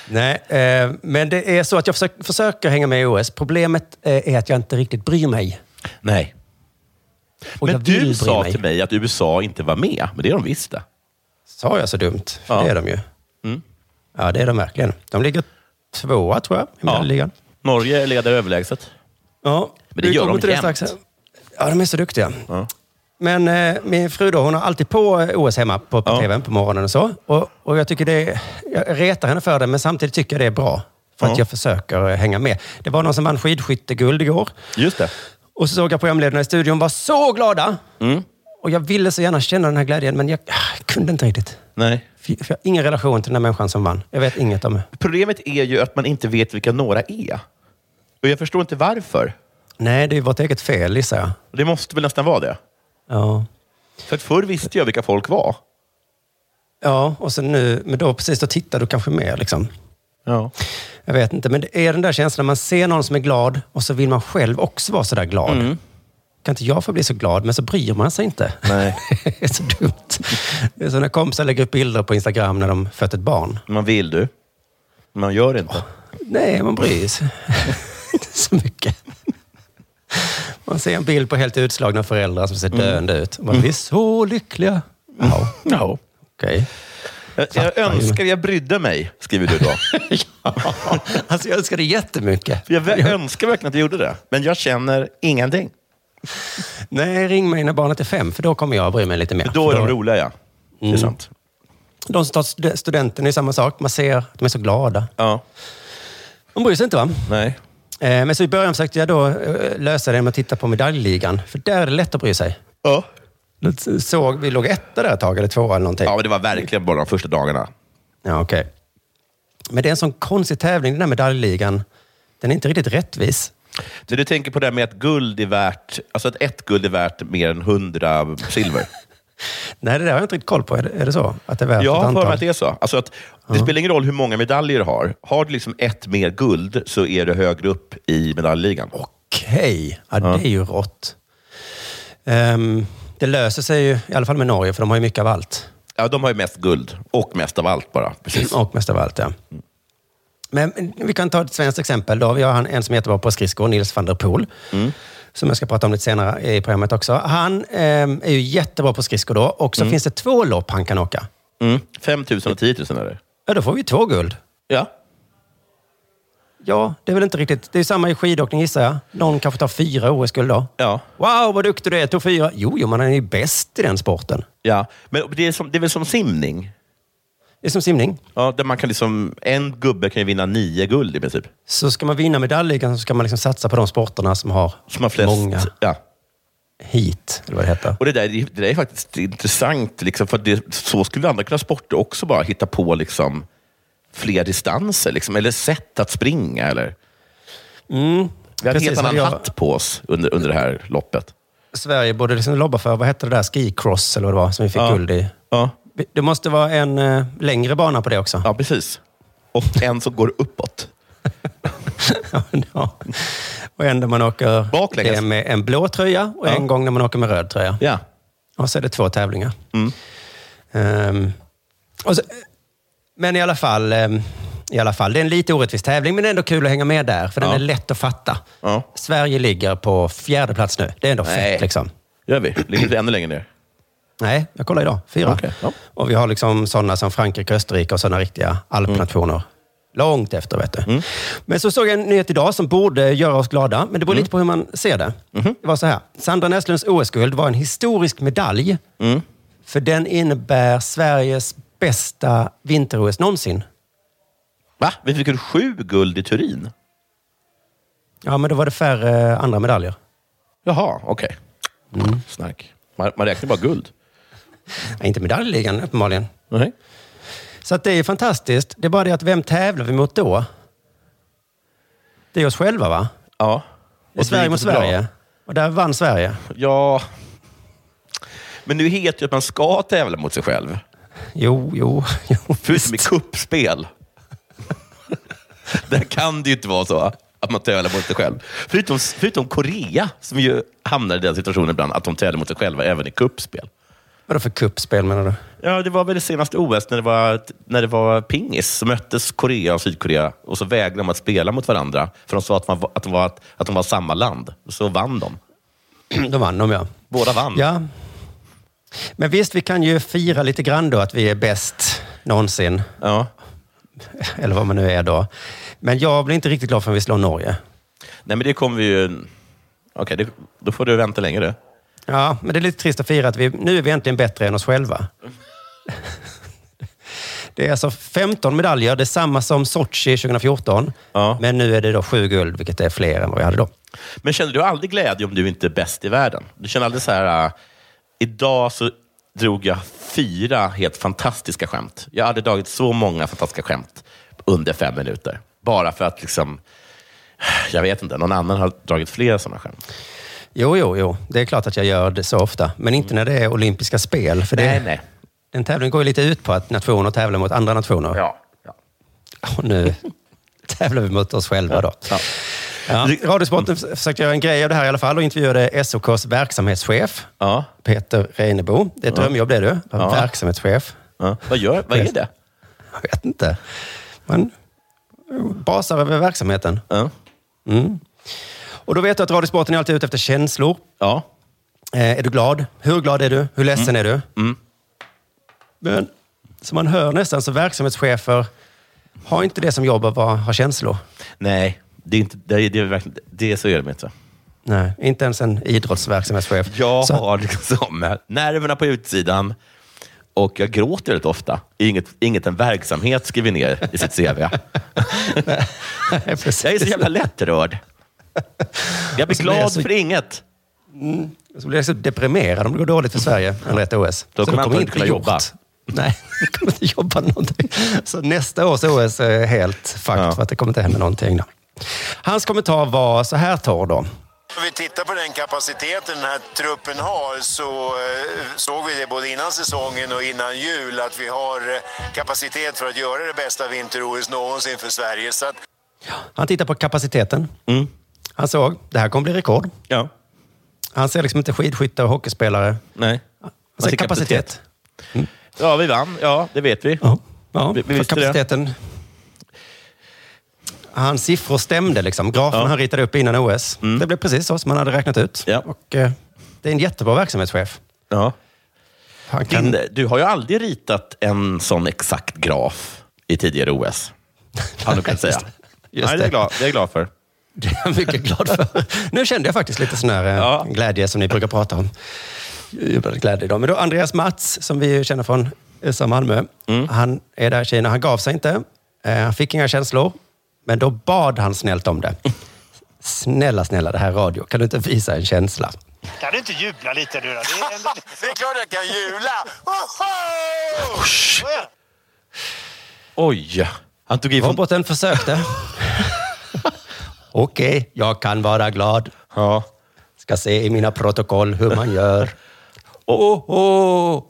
Speaker 5: Nej, eh, men det är så att jag försöker, försöker hänga med i OS. Problemet eh, är att jag inte riktigt bryr mig.
Speaker 3: Nej.
Speaker 5: Och
Speaker 3: men
Speaker 5: jag vill
Speaker 3: du
Speaker 5: bry
Speaker 3: sa
Speaker 5: mig.
Speaker 3: till mig att USA inte var med, men det är de visst det.
Speaker 5: Sa jag så dumt? För det är de ju.
Speaker 3: Mm.
Speaker 5: Ja, det är de verkligen. De ligger tvåa, tror jag, i
Speaker 3: Ja.
Speaker 5: medelligan.
Speaker 3: Norge leder överlägset.
Speaker 5: Ja,
Speaker 3: Men det
Speaker 5: vi
Speaker 3: gör
Speaker 5: kommer
Speaker 3: de
Speaker 5: till det
Speaker 3: jämt.
Speaker 5: strax. Ja, de är så duktiga. Men eh, min fru då, hon har alltid på eh, OS hemma på, på tvn på morgonen och så. Och, och jag tycker det är, jag retar henne för det, men samtidigt tycker jag det är bra. För att
Speaker 3: Ja.
Speaker 5: jag försöker eh, hänga med. Det var någon som vann skidskytteguld igår.
Speaker 3: Just det.
Speaker 5: Och så såg jag programledarna i studion var så glada. Och jag ville så gärna känna den här glädjen, men jag ah, kunde inte riktigt.
Speaker 3: Nej.
Speaker 5: För för jag har ingen relation till den här människan som vann. Jag vet inget om det.
Speaker 3: Problemet är ju att man inte vet vilka några är. Och jag förstår inte varför.
Speaker 5: Nej, det är vårt eget fel, gissar jag.
Speaker 3: Det måste väl nästan vara det.
Speaker 5: Ja.
Speaker 3: För att förr visste jag vilka folk var.
Speaker 5: Ja, och sen nu, men då precis, då tittar du kanske mer liksom.
Speaker 3: Ja.
Speaker 5: Jag vet inte, men det är den där känslan när man ser någon som är glad och så vill man själv också vara sådär glad.
Speaker 3: Mm.
Speaker 5: Kan inte jag få bli så glad? Men så bryr man sig inte.
Speaker 3: Nej.
Speaker 5: [LAUGHS] det är så dumt. Det är så när kompisar lägger upp bilder på Instagram när de fött ett barn.
Speaker 3: Man vill du. Men Man gör det inte.
Speaker 5: Nej, man bryr sig inte så mycket. Man ser en bild på helt utslagna föräldrar som ser
Speaker 3: Mm.
Speaker 5: döende ut. Man, Vi är så lyckliga. Ja.
Speaker 3: Ja.
Speaker 5: Okej.
Speaker 3: Jag, jag
Speaker 5: Fattar ju.
Speaker 3: önskar jag brydde mig, skriver du då.
Speaker 5: Alltså jag önskar det jättemycket.
Speaker 3: Jag vä- önskar verkligen att jag gjorde det, men jag känner ingenting.
Speaker 5: Nej, ring mig när barnet är fem, för då kommer jag att bry mig lite mer.
Speaker 3: Då är de roliga, ja. Det är
Speaker 5: Mm.
Speaker 3: sant.
Speaker 5: De som tar stud- studenten är samma sak. Man ser att de är så glada.
Speaker 3: Ja.
Speaker 5: De bryr sig inte va?
Speaker 3: Nej.
Speaker 5: Eh, Men så i början försökte jag då eh, lösa det med att titta på medaljligan. För där är det lätt att bry sig.
Speaker 3: Ja.
Speaker 5: Då Såg, vi låg etta där ett tag, eller tvåa eller någonting.
Speaker 3: Ja, men det var verkligen bara de första dagarna.
Speaker 5: Ja, okej. Men det är en sån konstig tävling, den här medaljligan. Den är inte riktigt rättvis.
Speaker 3: Så du tänker på det här med att guld är värt, alltså att ett guld är värt mer än hundra
Speaker 5: [LAUGHS]
Speaker 3: silver?
Speaker 5: Nej, det där har jag inte riktigt koll på. Är det, är det så? Att det är värt
Speaker 3: Jag
Speaker 5: ett
Speaker 3: har för mig att
Speaker 5: antal?
Speaker 3: det är så. Alltså att det spelar ingen roll hur många medaljer du har. Har du liksom ett mer guld så är du högre upp i medaljligan.
Speaker 5: Okej, ja, det är ju rått. Ehm, det löser sig ju, i alla fall med Norge, för de har ju mycket av allt.
Speaker 3: Ja, de har ju mest guld och mest av allt bara. Precis.
Speaker 5: Mm, Och mest av allt, ja. Men vi kan ta ett svenskt exempel. Då. Vi har han- en som är jättebra på skridskor, Nils van der Poel.
Speaker 3: Mm.
Speaker 5: Som jag ska prata om lite senare i programmet också. Han ehm, är ju jättebra på skridskor då. Och så finns det två lopp han kan åka.
Speaker 3: Mm. 5 000 och 10 000 eller?
Speaker 5: Ja, då får vi två guld.
Speaker 3: Ja.
Speaker 5: Ja, det är väl inte riktigt... Det är ju samma i skidåkning gissar jag. Någon kanske tar fyra OS-guld då.
Speaker 3: Ja.
Speaker 5: Wow, vad duktig du är! Tog fyra. Jo, jo, man är ju bäst i den sporten.
Speaker 3: ja. Men det är, som, det är väl som simning?
Speaker 5: Det är som simning.
Speaker 3: Ja, där man kan liksom, en gubbe kan ju vinna nio guld i princip.
Speaker 5: Så ska man vinna medaljligan så ska man liksom satsa på de sporterna som har,
Speaker 3: Som har flest.
Speaker 5: många
Speaker 3: Ja.
Speaker 5: hit, eller vad det heter.
Speaker 3: Och det där, det där är faktiskt intressant. Liksom, för det, så skulle andra kunna sporter också bara hitta på liksom, fler distanser. Liksom, eller sätt att springa. Eller.
Speaker 5: Mm.
Speaker 3: Vi har en helt
Speaker 5: Precis,
Speaker 3: annan
Speaker 5: jag-
Speaker 3: hatt på oss under, under det här loppet.
Speaker 5: Sverige borde liksom lobba för, vad hette det där, ski cross eller vad det var, som vi fick
Speaker 3: Ja.
Speaker 5: guld i?
Speaker 3: Ja,
Speaker 5: Det måste vara en eh, längre bana på det också.
Speaker 3: ja precis. Och en som går uppåt.
Speaker 5: [LAUGHS] Ja. Och en där man åker
Speaker 3: Baklänges.
Speaker 5: det med en blå tröja och
Speaker 3: Ja.
Speaker 5: en gång när man åker med röd tröja.
Speaker 3: Ja. Mm.
Speaker 5: Och så är det två tävlingar. Ehm, och så, men i alla, fall, ehm, i alla fall, det är en lite orättvis tävling, men det är ändå kul att hänga med där, för den
Speaker 3: Ja.
Speaker 5: är lätt att fatta.
Speaker 3: ja.
Speaker 5: Sverige ligger på fjärde plats nu. Det är ändå
Speaker 3: Nej.
Speaker 5: fett liksom.
Speaker 3: Gör vi? Ligger vi ännu längre ner?
Speaker 5: Nej, jag kollar idag. Fyra.
Speaker 3: Okej, ja.
Speaker 5: Och vi har liksom sådana som Frankrike, Österrike och sådana riktiga alpnationer. Långt efter, vet du.
Speaker 3: Mm.
Speaker 5: Men så såg jag en nyhet idag som borde göra oss glada, men det beror
Speaker 3: Mm.
Speaker 5: lite på hur man ser det.
Speaker 3: Mhm.
Speaker 5: Det var så här. Sandra Näslunds OS-guld var en historisk medalj,
Speaker 3: Mm.
Speaker 5: för den innebär Sveriges bästa vinter-OS någonsin.
Speaker 3: Va? Vi fick ju sju guld i Turin.
Speaker 5: Ja, men då var det färre eh, andra medaljer.
Speaker 3: Jaha, okej. Snark. Man, man räknar bara guld.
Speaker 5: Nej, inte medaljligan, uppenbarligen.
Speaker 3: Nej.
Speaker 5: Så att det är fantastiskt. Det är bara det att vem tävlar vi mot då? Det är oss själva, va?
Speaker 3: Ja.
Speaker 5: Det är Sverige
Speaker 3: gick
Speaker 5: mot
Speaker 3: så bra.
Speaker 5: Sverige. Och där vann Sverige.
Speaker 3: Ja. Men nu heter ju att man ska tävla mot sig själv.
Speaker 5: Jo, jo, [LAUGHS] jo.
Speaker 3: Förutom i kuppspel. Där kan det ju inte vara så att man tävlar mot sig själv. Förutom, förutom Korea, som ju hamnar i den situationen ibland, att de tävlar mot sig själva även i kuppspel.
Speaker 5: Vadå för kuppspel menar du?
Speaker 3: Ja, det var väl det senaste OS när det var, när det var pingis. Så möttes Korea och Sydkorea och så vägrade de att spela mot varandra. För de sa att, man, var- att, de, var, att, att de var samma land. Så vann [CLEARS THROAT] de.
Speaker 5: De vann de, ja.
Speaker 3: Båda vann.
Speaker 5: Ja. Men visst, vi kan ju fira lite grann då att vi är bäst någonsin.
Speaker 3: Ja.
Speaker 5: Eller vad man nu är då. Men jag blir inte riktigt glad förrän vi slår Norge.
Speaker 3: Nej, men det kommer vi ju... Okej, det- då får du vänta länge du.
Speaker 5: Ja, men det är lite trist att fira att vi, nu är vi äntligen bättre än oss själva. [LAUGHS] Det är alltså 15 medaljer, det är samma som Sochi 2014. Men nu är det då sju guld, vilket är fler än vad vi hade då.
Speaker 3: Men känner du aldrig glädje om du inte är bäst i världen? Du känner aldrig så här, äh, idag så drog jag fyra helt fantastiska skämt. Jag har aldrig dragit så många fantastiska skämt under fem minuter. Bara för att liksom, jag vet inte, någon annan har dragit flera sådana skämt.
Speaker 5: Jo, jo, jo. Det är klart att jag gör det så ofta. Men inte när det är olympiska spel. För det,
Speaker 3: Mm. Nej, nej.
Speaker 5: En tävling går ju lite ut på att nationer tävlar mot andra nationer.
Speaker 3: Ja.
Speaker 5: Och nu [LAUGHS] tävlar vi mot oss själva då. Ja. Radiosporten f- försökte göra en grej av det här i alla fall och intervjuade SOKs verksamhetschef, Peter Reinebo. Det är ett
Speaker 3: Ja.
Speaker 5: drömjobb det du.
Speaker 3: Ja.
Speaker 5: Verksamhetschef.
Speaker 3: Ja. Vad, gör, vad är det?
Speaker 5: Jag vet inte. Man basar över verksamheten. Mm. Och då vet du att Radiosporten är alltid ute efter känslor.
Speaker 3: Ja.
Speaker 5: Eh, är du glad? Hur glad är du? Hur ledsen är du?
Speaker 3: Mm.
Speaker 5: Men som man hör nästan så verksamhetschefer har inte det som jobb att vara- ha känslor.
Speaker 3: Nej, det är, inte, det är, det är, verkligen- det är så gör de inte.
Speaker 5: Nej, inte ens en idrottsverksamhetschef.
Speaker 3: Jag [LAUGHS] har liksom nerverna på utsidan och jag gråter väldigt ofta. Inget, inget en verksamhet skriver ner i sitt
Speaker 5: [LAUGHS]
Speaker 3: CV.
Speaker 5: eh,
Speaker 3: jag är så jävla lättrörd. Jag
Speaker 5: Och
Speaker 3: blir
Speaker 5: så blir
Speaker 3: glad
Speaker 5: Alltså, jag så-
Speaker 3: för inget.
Speaker 5: Mm. Så blir jag så deprimerad om det går dåligt för Sverige eller ett OS.
Speaker 3: Då
Speaker 5: Så
Speaker 3: kommer jag inte
Speaker 5: bli
Speaker 3: kunna jobba.
Speaker 5: Nej, jag kommer inte jobba någonting. Så nästa års OS är helt fucked för att det kommer inte hända någonting. Då. Hans kommentar var så här torr då.
Speaker 14: Om vi tittar på den kapaciteten den här truppen har så eh, såg vi det både innan säsongen och innan jul att vi har eh, kapacitet för att göra det bästa vinter-OS någonsin för Sverige. Så att
Speaker 5: Han tittar på kapaciteten.
Speaker 3: Mm.
Speaker 5: Han såg, det här kommer bli rekord.
Speaker 3: Ja.
Speaker 5: Han ser liksom inte skidskyttar och hockeyspelare.
Speaker 3: Nej.
Speaker 5: Han ser
Speaker 3: ser
Speaker 5: kapacitet.
Speaker 3: kapacitet. Ja, vi vann. Ja, det vet vi.
Speaker 5: Ja, ja
Speaker 3: vi, vi
Speaker 5: för
Speaker 3: visste det.
Speaker 5: kapaciteten. Hans siffror stämde liksom. Grafen han ritade upp innan OS.
Speaker 3: Mm.
Speaker 5: Det blev precis så som han hade räknat ut. Och, eh, det är en jättebra verksamhetschef.
Speaker 3: Ja.
Speaker 5: Han
Speaker 3: Din, du har ju aldrig ritat en sån exakt graf i tidigare OS. Har du kunnat säga.
Speaker 5: [LAUGHS] just
Speaker 3: Nej, det är
Speaker 5: det.
Speaker 3: jag glad, det är jag glad för.
Speaker 5: Det är jag mycket glad för. Nu kände jag faktiskt lite sån här eh, glädje som ni brukar prata om. Jublade glädje idag. Men då Andreas Mats, som vi ju känner från USA Malmö. Han är där i Kina. Han gav sig inte. Eh, Han fick inga känslor. Men då bad han snällt om det. Snälla, snälla, det här är radio. Kan du inte visa en känsla?
Speaker 15: Kan du inte jubla lite nu då? Det är, ändå...
Speaker 14: [LAUGHS] det är klart jag kan jula!
Speaker 3: Oj! Han tog i
Speaker 5: Roboten försökte. Okej, jag kan vara glad.
Speaker 3: Ja.
Speaker 5: Ska se i mina protokoll hur man gör.
Speaker 3: Oh, oh.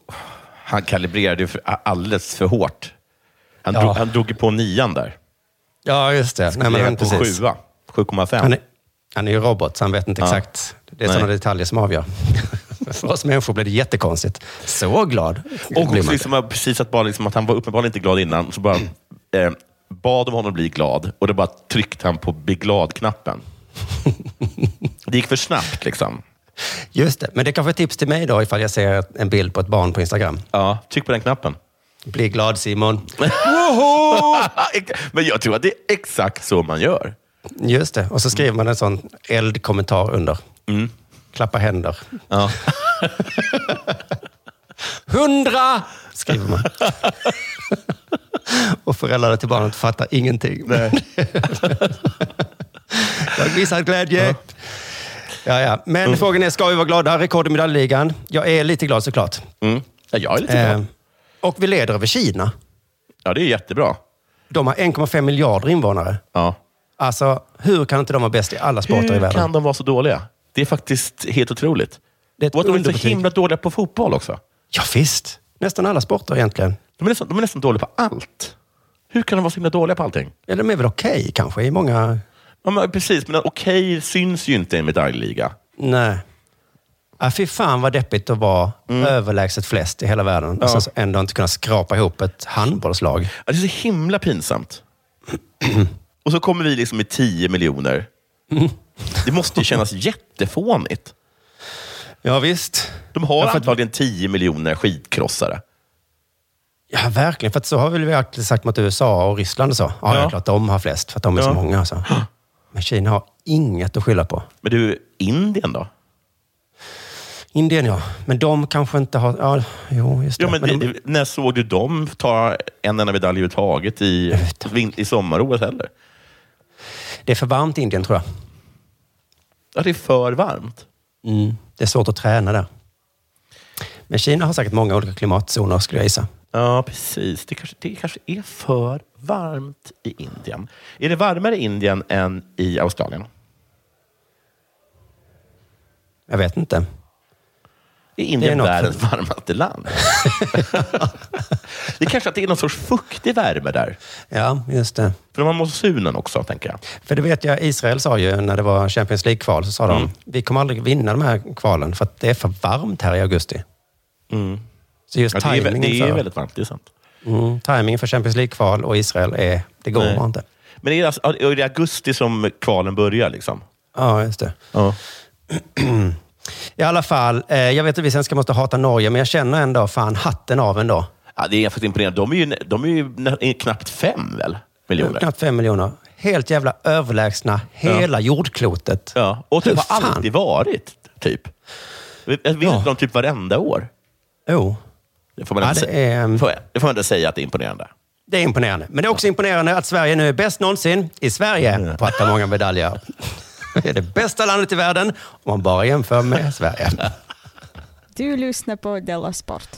Speaker 3: Han kalibrerade ju för- alldeles för hårt. Han,
Speaker 5: Ja.
Speaker 3: drog, han drog ju på nian där.
Speaker 5: Ja, just det. Nej, men
Speaker 3: Lägga
Speaker 5: han,
Speaker 3: på
Speaker 5: precis.
Speaker 3: sjua. 7,5.
Speaker 5: Han är, han är ju robot, så han vet inte
Speaker 3: Ja.
Speaker 5: exakt. Det är
Speaker 3: Nej.
Speaker 5: sådana detaljer som avgör. [LAUGHS] För oss människor blir det jättekonstigt. Så glad
Speaker 3: Och
Speaker 5: blir man.
Speaker 3: precis, som, precis att, bara liksom, att han var uppenbarligen inte glad innan, så bara [CLEARS THROAT] eh, bad om honom bli glad och då bara tryckte han på
Speaker 5: [LAUGHS]
Speaker 3: bli glad-knappen. Det gick för snabbt liksom.
Speaker 5: Just det. Men det är kanske är ett tips till mig då ifall jag ser en bild på ett barn på Instagram.
Speaker 3: Ja, tryck på den knappen.
Speaker 5: Bli glad Simon.
Speaker 3: Mm. [LAUGHS] Men jag tror att det är exakt så man gör.
Speaker 5: Just det. Och så skriver man en sån eldkommentar under.
Speaker 3: Mm.
Speaker 5: Klappa händer.
Speaker 3: Ja.
Speaker 5: Hundra! Skriver man. [LAUGHS] Och föräldrarna till barnet fattar ingenting. [LAUGHS] Jag visar glädje. Ja, ja. Men frågan är, ska vi vara glada? Rekord i medaljligan. Jag är lite glad såklart.
Speaker 3: Mm. Ja, jag är lite glad.
Speaker 5: Eh, och vi leder över Kina.
Speaker 3: Ja, det är jättebra.
Speaker 5: De har 1,5 miljarder invånare.
Speaker 3: Ja.
Speaker 5: Alltså, hur kan inte de vara bäst i alla sporter i
Speaker 3: Hur
Speaker 5: världen?
Speaker 3: kan de vara så dåliga? Det är faktiskt helt otroligt.
Speaker 5: Det är ett
Speaker 3: och att de är så
Speaker 5: underbetyg.
Speaker 3: himla dåliga på fotboll också.
Speaker 5: Ja, visst. Nästan alla sporter egentligen.
Speaker 3: De är, nästan, de är nästan dåliga på allt. Hur kan de vara så himla dåliga på allting?
Speaker 5: Ja, de är väl okej kanske i många...
Speaker 3: Ja, men precis, men okej syns ju inte i en medaljliga.
Speaker 5: Nej. Ah, fy fan vad deppigt att vara överlägset flest i hela världen och sen så ändå inte kunna skrapa ihop ett handbollslag.
Speaker 3: Ja, det är så himla pinsamt. [CLEARS THROAT] och så kommer vi liksom i 10 miljoner.
Speaker 5: [LAUGHS]
Speaker 3: Det måste ju kännas jättefånigt.
Speaker 5: Ja, visst.
Speaker 3: De har antagligen 10 miljoner skitkrossare.
Speaker 5: Ja, verkligen. För att så har väl vi alltid sagt mot USA och Ryssland och så. Ja, det
Speaker 3: Ja.
Speaker 5: är klart de har flest för att de är så
Speaker 3: Ja.
Speaker 5: många. Så. Men Kina har inget att skylla på.
Speaker 3: Men du, Indien då?
Speaker 5: Indien ja, men de kanske inte har... Ja, jo, just det.
Speaker 3: Ja, men
Speaker 5: Men de-
Speaker 3: det, när såg du dem ta en enda medalj överhuvudtaget i, vin- i sommar-OS heller?
Speaker 5: Det är för varmt i Indien tror jag.
Speaker 3: Ja, det är för varmt.
Speaker 5: Mm. Det är svårt att träna där. Men Kina har säkert många olika klimatzoner skulle jag gissa.
Speaker 3: Ja, precis. Det kanske, det kanske är för varmt i Indien. Är det varmare i Indien än i Australien?
Speaker 5: Jag vet inte.
Speaker 3: Är Indien
Speaker 5: något för-
Speaker 3: världens varmaste land? [LAUGHS] det kanske att det är någon sorts fuktig värme där.
Speaker 5: Ja, just det.
Speaker 3: För de har monsunen också, tänker jag.
Speaker 5: För det vet jag, Israel sa ju när det var Champions League-kval, så sa
Speaker 3: Mm.
Speaker 5: de vi kommer aldrig vinna de här kvalen för att det är för varmt här i augusti.
Speaker 3: Mm.
Speaker 5: Så just
Speaker 3: Ja, det, är, vä-
Speaker 5: tajmingen
Speaker 3: det
Speaker 5: för,
Speaker 3: är väldigt varmt, det är sant.
Speaker 5: mm, tajmingen för Champions League-kval och Israel är, det går
Speaker 3: Nej.
Speaker 5: bara inte.
Speaker 3: Men är det, alltså- är det augusti som kvalen börjar? Liksom?
Speaker 5: Ja, just det.
Speaker 3: Ja.
Speaker 5: I alla fall, eh, jag vet att vi svenskar måste hata Norge, men jag känner ändå fan hatten av ändå.
Speaker 3: Ja, det är faktiskt imponerande. De är ju, nä- de är ju nä- är knappt fem väl? miljoner.
Speaker 5: Knappt fem miljoner. Helt jävla överlägsna hela jordklotet.
Speaker 3: Ja. Och typ
Speaker 5: Hur
Speaker 3: har
Speaker 5: fan?
Speaker 3: alltid varit, typ. Jag vet inte de typ varenda år.
Speaker 5: Jo,
Speaker 3: Det får man ändå
Speaker 5: Ja, det
Speaker 3: säga-
Speaker 5: är- ehm,
Speaker 3: får jag- det får man ändå säga att det är imponerande.
Speaker 5: det är imponerande. Men det är också imponerande att Sverige nu är bäst någonsin i Sverige på att ta många medaljer. Det är det bästa landet i världen om man bara jämför med Sverige.
Speaker 16: Du lyssnar på Della Sport.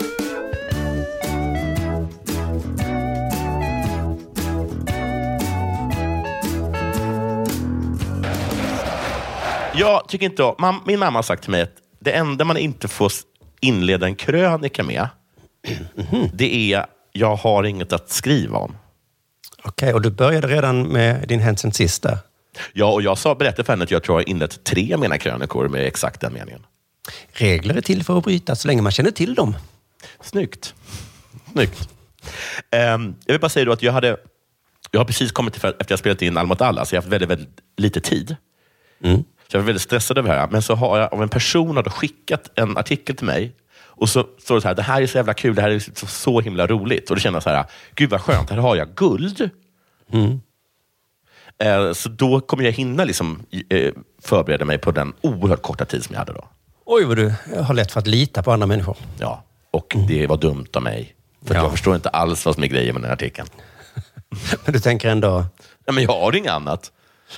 Speaker 3: Jag tycker inte om... mam- Min mamma har sagt till mig att det enda man inte får s- inleda en krönika med, det är jag har inget att skriva om.
Speaker 5: Okej, och du började redan med din hänt sen sist där.
Speaker 3: Ja, och jag sa, berättade för henne att jag tror jag har inlett tre av mina krönikor med exakt den meningen.
Speaker 5: Regler är till för att bryta så länge man känner till dem.
Speaker 3: Snyggt. Snyggt. Ehm, jag vill bara säga då att jag hade... Jag har precis kommit till, efter jag spelat in Al mot alla, så jag har haft väldigt, väldigt lite tid. Så jag var väldigt stressad över det här. Men så har jag av en person har då skickat en artikel till mig. Och så står det så här, det här är så jävla kul, det här är så, så himla roligt. Och då känner jag så här, gud vad skönt, här har jag guld. Eh, så då kommer jag hinna liksom, eh, förbereda mig på den oerhört korta tid som jag hade då.
Speaker 5: Oj, vad du har lätt för att lita på andra människor. [LAUGHS]
Speaker 3: Ja, och det var dumt av mig. För att
Speaker 5: Ja.
Speaker 3: jag förstår inte alls vad som är grejen med den här artikeln.
Speaker 5: Men du tänker ändå,
Speaker 3: Ja, men jag har inget annat.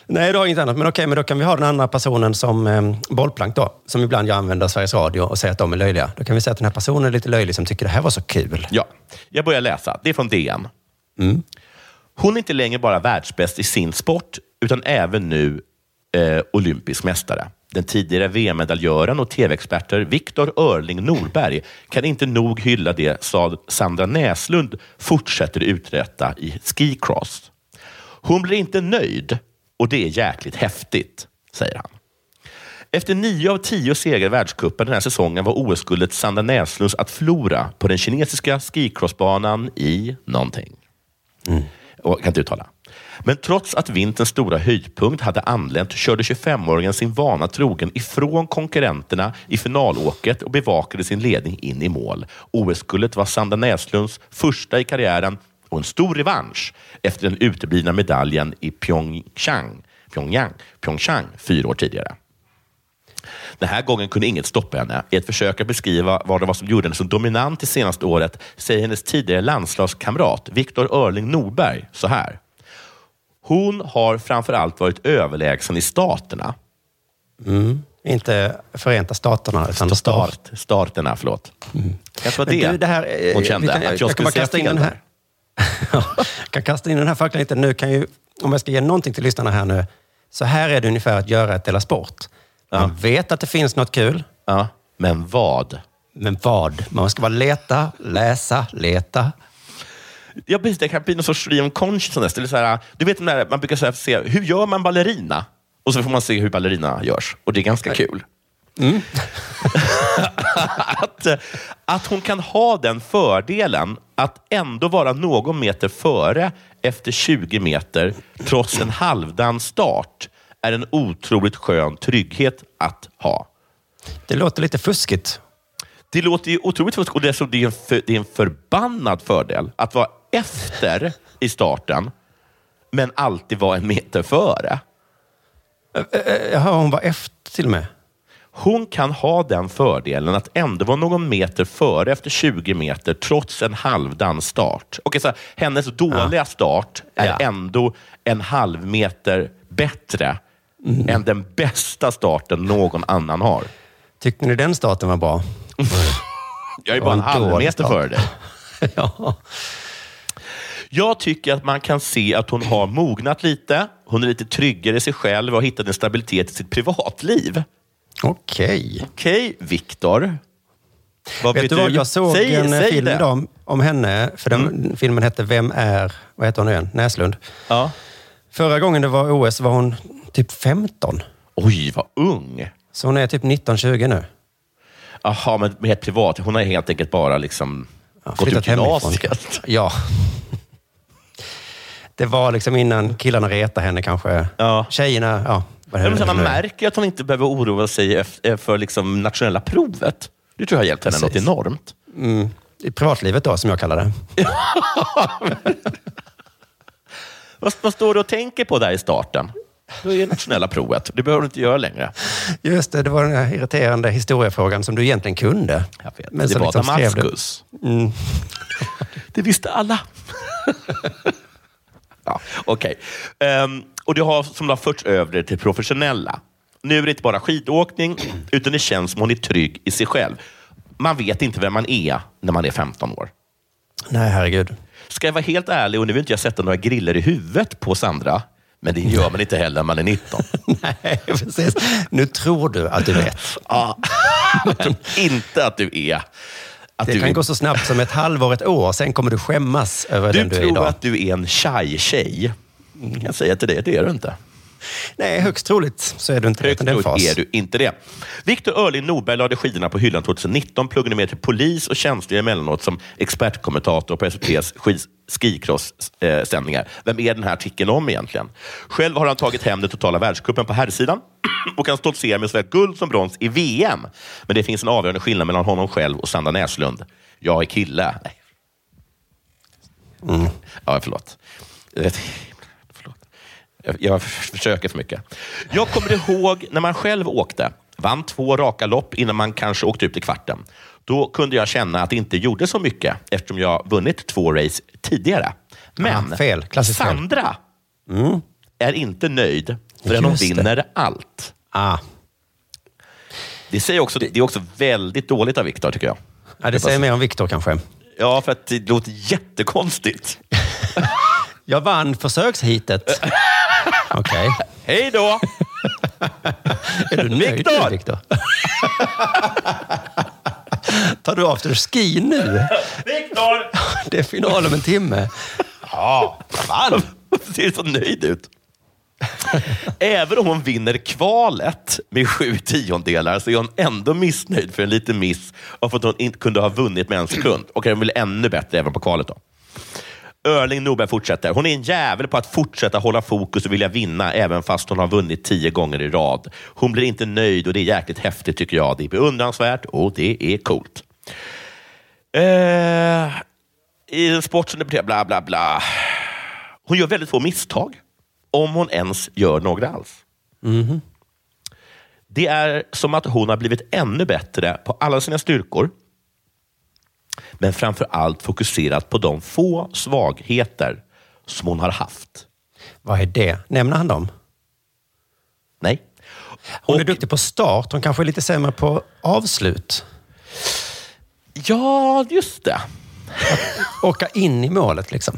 Speaker 5: nej du har inget annat, men okej, men då kan vi ha den andra personen som eh, bollplank då. Som ibland jag använder Sveriges Radio och säger att de är löjliga. Då kan vi säga att den här personen är lite löjlig som tycker det här var så kul.
Speaker 3: Ja, jag börjar läsa. Det är från DN. Hon är inte längre bara världsbäst i sin sport, utan även nu eh, olympisk mästare. Den tidigare VM-medaljören och tv-experter Viktor Örling Norberg kan inte nog hylla det sa Sandra Näslund fortsätter uträtta i skicross. Hon blir inte nöjd och det är jäkligt häftigt, säger han. Efter nio av tio segrar i världscupen den här säsongen var OS-guldet Sandra Näslunds att förlora på den kinesiska skicrossbanan i någonting. Och jag kan inte uttala. Men trots att vinterns stora höjdpunkt hade anlänt körde 25-åringen sin vana trogen ifrån konkurrenterna i finalåket och bevakade sin ledning in i mål. OS-guldet var Sandra Näslunds första i karriären och en stor revansch efter den uteblivna medaljen i Pyeongchang, Pyongyang, Pyeongchang fyra år tidigare. Den här gången kunde inget stoppa henne. I ett försök att beskriva vad det var som gjorde henne så dominant det senaste året säger hennes tidigare landslagskamrat Viktor Örling Norberg så här. Hon har framför allt varit överlägsen i staterna.
Speaker 5: Mm. Inte Förenta Staterna, utan Star.
Speaker 3: Start, starterna, förlåt. Jag tror
Speaker 5: Mm. Men
Speaker 3: det,
Speaker 5: du, det här, eh,
Speaker 3: hon kände.
Speaker 5: vi kan- jag-
Speaker 3: att
Speaker 5: jag
Speaker 3: jag,
Speaker 5: kan bara
Speaker 3: skulle säga
Speaker 5: kasta in
Speaker 3: fel
Speaker 5: den här.
Speaker 3: där.
Speaker 5: Jag kan kasta in den här förklaringen nu. Kan ju, om jag ska ge någonting till lyssnarna här nu. Så här är det ungefär att göra ett Della Sport. Man vet att det finns något kul.
Speaker 3: Ja, men vad?
Speaker 5: Men vad? Man ska bara leta, läsa, leta.
Speaker 3: Ja, precis. Det kan bli någon sorts stream of consciousness. Eller så här, du vet, den där, man brukar så här, se, hur gör man ballerina? Och så får man se hur ballerina görs. Och det är ganska kul. [LAUGHS] att, att hon kan ha den fördelen att ändå vara någon meter före efter 20 meter trots en halvdan start är en otroligt skön trygghet att ha.
Speaker 5: Det låter lite fuskigt.
Speaker 3: Det låter ju otroligt fuskigt och dessutom det är, en för, det är en förbannad fördel att vara efter i starten men alltid vara en meter före.
Speaker 5: Jaha, hon var efter till och med?
Speaker 3: Hon kan ha den fördelen att ändå vara någon meter före efter 20 meter trots en halvdan start. Okej, så här, hennes dåliga start är
Speaker 5: Ja.
Speaker 3: ändå en halv meter bättre
Speaker 5: Mm.
Speaker 3: än den bästa starten någon annan har.
Speaker 5: Tyckte ni den starten var bra? [LAUGHS]
Speaker 3: Jag är bara en
Speaker 5: Det var en
Speaker 3: halv
Speaker 5: dålig
Speaker 3: meter
Speaker 5: start.
Speaker 3: före dig. Jag tycker att man kan se att hon har mognat lite. Hon är lite tryggare i sig själv och har hittat en stabilitet i sitt privatliv.
Speaker 5: Okej.
Speaker 3: Okej, Viktor. Vad
Speaker 5: Vet du vad, jag såg
Speaker 3: Säg-
Speaker 5: en eh,
Speaker 3: säg
Speaker 5: film
Speaker 3: det. Mm.
Speaker 5: idag om, om henne, för den filmen hette Vem är... Vad heter hon nu igen? Näslund.
Speaker 3: Ja.
Speaker 5: Förra gången det var OS var hon typ 15.
Speaker 3: Oj, vad ung!
Speaker 5: Så hon är typ 19-20 nu.
Speaker 3: Jaha, men med ett privat. Hon har helt enkelt bara liksom gått
Speaker 5: flyttat
Speaker 3: ut [LAUGHS] gymnasiet.
Speaker 5: typ hemifrån. Ja. Det var liksom innan killarna retade henne kanske.
Speaker 3: Ja.
Speaker 5: Tjejerna, ja. vad
Speaker 3: Ja, men så
Speaker 5: heter
Speaker 3: Man
Speaker 5: det nu?
Speaker 3: märker ju att hon inte behöver oroa sig ef- eh, för liksom nationella provet. Det tror jag har hjälpt henne något
Speaker 5: Precis.
Speaker 3: enormt.
Speaker 5: Mm. I privatlivet då, som jag kallar det.
Speaker 3: Vad, vad står du och tänker på där i starten? Då är det nationella provet. Det behöver du inte göra längre.
Speaker 5: Just det, det var den här irriterande historiefrågan som du egentligen kunde.
Speaker 3: Jag vet.
Speaker 5: Men
Speaker 3: det
Speaker 5: som
Speaker 3: var
Speaker 5: liksom skrev du-
Speaker 3: Damaskus.
Speaker 5: Mm.
Speaker 3: [LAUGHS] Det
Speaker 5: [LAUGHS]
Speaker 3: visste alla. ja, Okej. Ehm, och det har som det har förts över till professionella. Nu är det inte bara skidåkning, [CLEARS THROAT] utan det känns som hon är trygg i sig själv. Man vet inte vem man är när man är 15 år.
Speaker 5: Nej, herregud. [LAUGHS]
Speaker 3: Ska jag vara helt ärlig, och nu vill inte jag sätta några griller i huvudet på Sandra, men det gör man inte heller när man är 19.
Speaker 5: Nej, precis. Nu tror du att du vet.
Speaker 3: Ja. [LAUGHS] Jag tror inte att du är... Att
Speaker 5: det
Speaker 3: du
Speaker 5: kan
Speaker 3: är
Speaker 5: gå så snabbt som ett halvår, ett år. Sen kommer du skämmas över
Speaker 3: Du
Speaker 5: den du är
Speaker 3: tror
Speaker 5: idag.
Speaker 3: att du är en shy tjej. Kan jag säga till dig att det är du inte.
Speaker 5: Nej, högst troligt så är du inte
Speaker 3: Högt
Speaker 5: i den
Speaker 3: nog
Speaker 5: fas.
Speaker 3: är du inte det. Viktor Örling Norberg lade skidorna på hyllan 2019, pluggade med till polis och tjänstgjorde emellanåt som expertkommentator på SVTs skis- skicross-sändningar. Vem är den här artikeln om egentligen? Själv har han tagit hem den totala världscupen på herrsidan [CLEARS THROAT] och kan stoltsera med såväl guld som brons i VM. Men det finns en avgörande skillnad mellan honom själv och Sandra Näslund. Jag är kille. Nej. Ja, förlåt. Rätt- förlåt. Jag, jag försöker för mycket. Jag kommer ihåg när man själv åkte. Vann två raka lopp innan man kanske åkte ut i kvarten. Då kunde jag känna att det inte gjorde så mycket eftersom jag vunnit två race tidigare. Men
Speaker 5: Ah, fel. Klassiskt fel. Mm.
Speaker 3: Sandra är inte nöjd förrän hon
Speaker 5: Just det.
Speaker 3: vinner allt.
Speaker 5: Ah.
Speaker 3: Det, säger också, det är också väldigt dåligt av Viktor, tycker jag.
Speaker 5: Ja, det säger mer om Viktor kanske.
Speaker 3: Ja, för att det låter jättekonstigt.
Speaker 5: Jag vann försökshitet. Okej.
Speaker 3: Hej då!
Speaker 5: Är du nöjd
Speaker 3: Viktor!
Speaker 5: nu, Viktor? Tar du afterski nu?
Speaker 3: Viktor!
Speaker 5: Det är final om en timme.
Speaker 3: Ja, varm. [LAUGHS] Ser så nöjd ut. Även om hon vinner kvalet med sju tiondelar så är hon ändå missnöjd för en liten miss och för att hon inte kunde ha vunnit med en sekund. Och hon vill ännu bättre även på kvalet då. Örling Norberg fortsätter. Hon är en jävel på att fortsätta hålla fokus och vilja vinna även fast hon har vunnit tio gånger i rad. Hon blir inte nöjd och det är jäkligt häftigt tycker jag. Det är beundransvärt och det är coolt. Eh, I en sport som debuterar, bla bla bla. Hon gör väldigt få misstag. Om hon ens gör några alls. Det är som att hon har blivit ännu bättre på alla sina styrkor. Men framför allt fokuserat på de få svagheter som hon har haft.
Speaker 5: Vad är det? Nämner han dem?
Speaker 3: Nej.
Speaker 5: Hon är duktig på start. Hon kanske är lite sämre på avslut.
Speaker 3: Ja, just det.
Speaker 5: Åka in i målet liksom.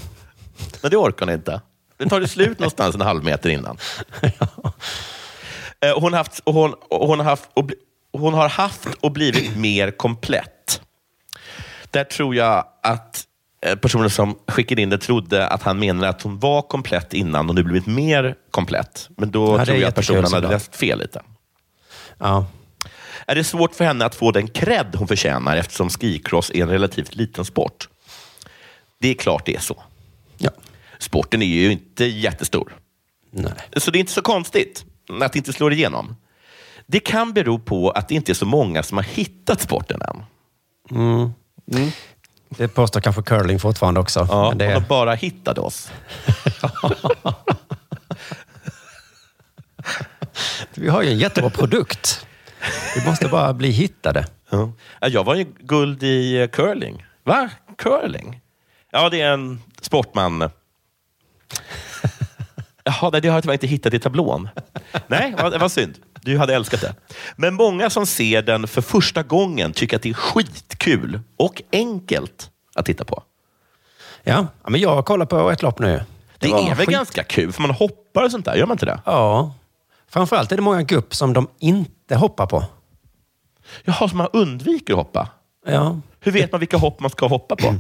Speaker 3: Men det orkar hon inte. Den tar det slut någonstans en halv meter innan. Eh, Hon, har haft, och hon, och hon, har haft, och bli- hon har haft och blivit mer komplett. Där tror jag att eh, personen som skickade in det trodde att han menade att hon var komplett innan och nu blivit mer komplett. Men då
Speaker 5: Ja, det är
Speaker 3: tror jag att
Speaker 5: jättekul
Speaker 3: personen hade
Speaker 5: såklart.
Speaker 3: läst fel lite.
Speaker 5: Ja.
Speaker 3: är det svårt för henne att få den cred hon förtjänar eftersom skicross är en relativt liten sport. Det är klart det är så.
Speaker 5: Ja.
Speaker 3: Sporten är ju inte jättestor.
Speaker 5: Nej.
Speaker 3: Så det är inte så konstigt att det inte slår igenom. Det kan bero på att det inte är så många som har hittat sporten än.
Speaker 5: Mm. Det påstår kanske curling fortfarande också.
Speaker 3: Ja,
Speaker 5: men det...
Speaker 3: De bara hittade oss.
Speaker 5: Vi har ju en jättebra produkt. Vi måste bara bli hittade.
Speaker 3: Ja, Jag var ju guld i eh, curling. Va? Curling? Ja, det är en [LAUGHS] sportman. Jaha, nej, det har jag tyvärr inte hittat i tablån. Nej, vad, vad synd. Du hade älskat det. Men många som ser den för första gången tycker att det är skitkul och enkelt att titta på.
Speaker 5: Ja, ja, men jag kollar på ett lopp nu.
Speaker 3: Det,
Speaker 5: var
Speaker 3: är väl
Speaker 5: skit-
Speaker 3: ganska kul, för man hoppar och sånt där. Gör man inte det?
Speaker 5: Ja. Framförallt är det många gupp som de inte hoppar på.
Speaker 3: Jaha, så man undviker att hoppa?
Speaker 5: Ja.
Speaker 3: Hur vet man vilka hopp man ska hoppa på?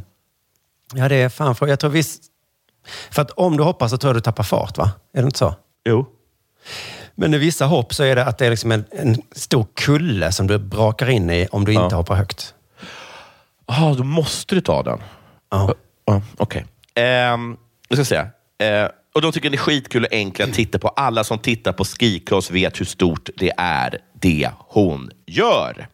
Speaker 5: Ja, det är fan för... Jag tror visst... För att om du hoppar så tror jag du tappar fart, va? Är det inte så?
Speaker 3: [CLEARS THROAT] Jo.
Speaker 5: Men i vissa hopp så är det att det är liksom en, en stor kulle som du brakar in i om du inte hoppar högt.
Speaker 3: Jaha, då måste du ta den?
Speaker 5: Ja.
Speaker 3: Ja, Okej. Ehm, jag ska säga. Eh, och de tycker det är skitkul och enkelt att titta på. Alla som tittar på skicross vet hur stort det är, det hon gör.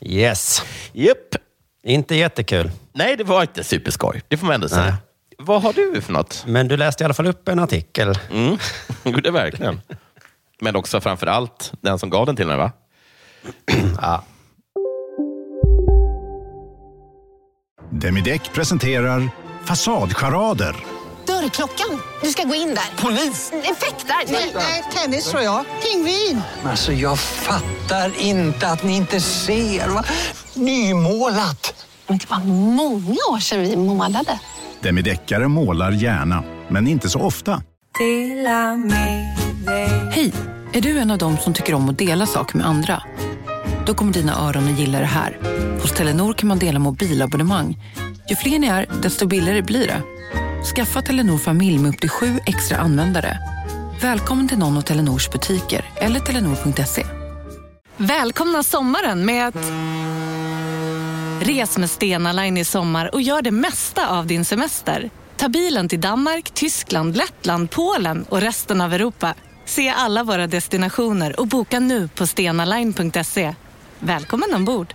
Speaker 5: Yes.
Speaker 3: Japp.
Speaker 5: Inte jättekul.
Speaker 3: Nej, det var inte superskoj. Det får man ändå säga. Vad har du för något?
Speaker 5: Men du läste i alla fall upp en artikel.
Speaker 3: Mm. [LAUGHS] Gjorde det verkligen. Men också framför allt den som gav den till mig, va?
Speaker 5: ja.
Speaker 17: Demideck presenterar Fasadcharader.
Speaker 18: Dörrklockan. Du ska gå in där. Polis? Effektar? Nej, tennis tror jag. Pingvin.
Speaker 19: Alltså jag fattar inte att ni inte ser. Va? Nymålat.
Speaker 18: Men det var många år sedan vi målade.
Speaker 17: Demideckare målar gärna, men inte så ofta.
Speaker 20: Hej! Är du en av dem som tycker om att dela saker med andra? Då kommer dina öron att gilla det här. Hos Telenor kan man dela mobilabonnemang. Ju fler ni är, desto billigare blir det. Skaffa Telenor familj med upp till sju extra användare. Välkommen till någon av Telenors butiker eller telenor.se.
Speaker 21: Välkomna sommaren med att... Res med Stena Line i sommar och gör det mesta av din semester. Ta bilen till Danmark, Tyskland, Lettland, Polen och resten av Europa. Se alla våra destinationer och boka nu på stenaline.se. Välkommen ombord!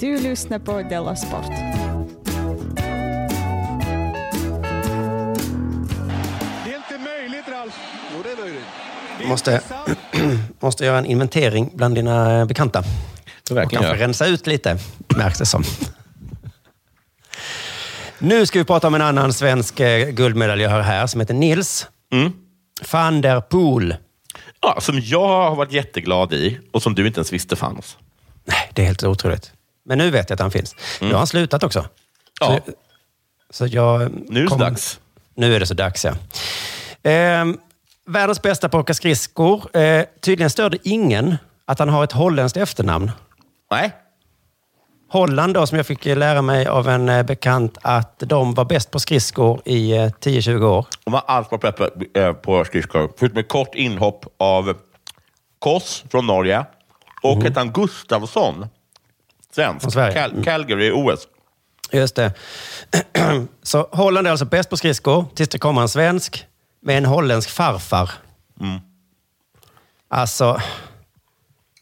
Speaker 16: Du lyssnar på Della Sport.
Speaker 22: Det är inte möjligt, Ralf. Jo, det är möjligt.
Speaker 5: Måste, [CLEARS THROAT] måste göra en inventering bland dina eh, bekanta. Och
Speaker 3: verkligen
Speaker 5: kanske
Speaker 3: gör.
Speaker 5: rensa ut lite, märks det som. Nu ska vi prata om en annan svensk eh, guldmedaljör här som heter Nils
Speaker 3: Mm.
Speaker 5: van der Poel.
Speaker 3: Ja, som jag har varit jätteglad i och som du inte ens visste fanns.
Speaker 5: Nej, det är helt otroligt. Men nu vet jag att han finns.
Speaker 3: Mm.
Speaker 5: Nu har han slutat också. Ja. Så, så jag
Speaker 3: Nu är det så dags.
Speaker 5: Nu är det så dags, ja. Ehm, världens bästa på att åka skridskor. Eh, tydligen stör det ingen att han har ett holländskt efternamn.
Speaker 3: Nej.
Speaker 5: Holland då, som jag fick lära mig av en eh, bekant, att de var bäst på skridskor i eh, 10-20 år.
Speaker 3: De har allt på preppa eh, på skridskor. Förutom ett kort inhopp av Koss från Norge och hette han Gustavsson, svensk,
Speaker 5: Mhm. Från Sverige.
Speaker 3: Cal- Calgary i OS.
Speaker 5: Just det. [CLEARS THROAT] Så Holland är alltså bäst på skridskor tills det kommer en svensk med en holländsk farfar.
Speaker 3: Mm.
Speaker 5: Alltså,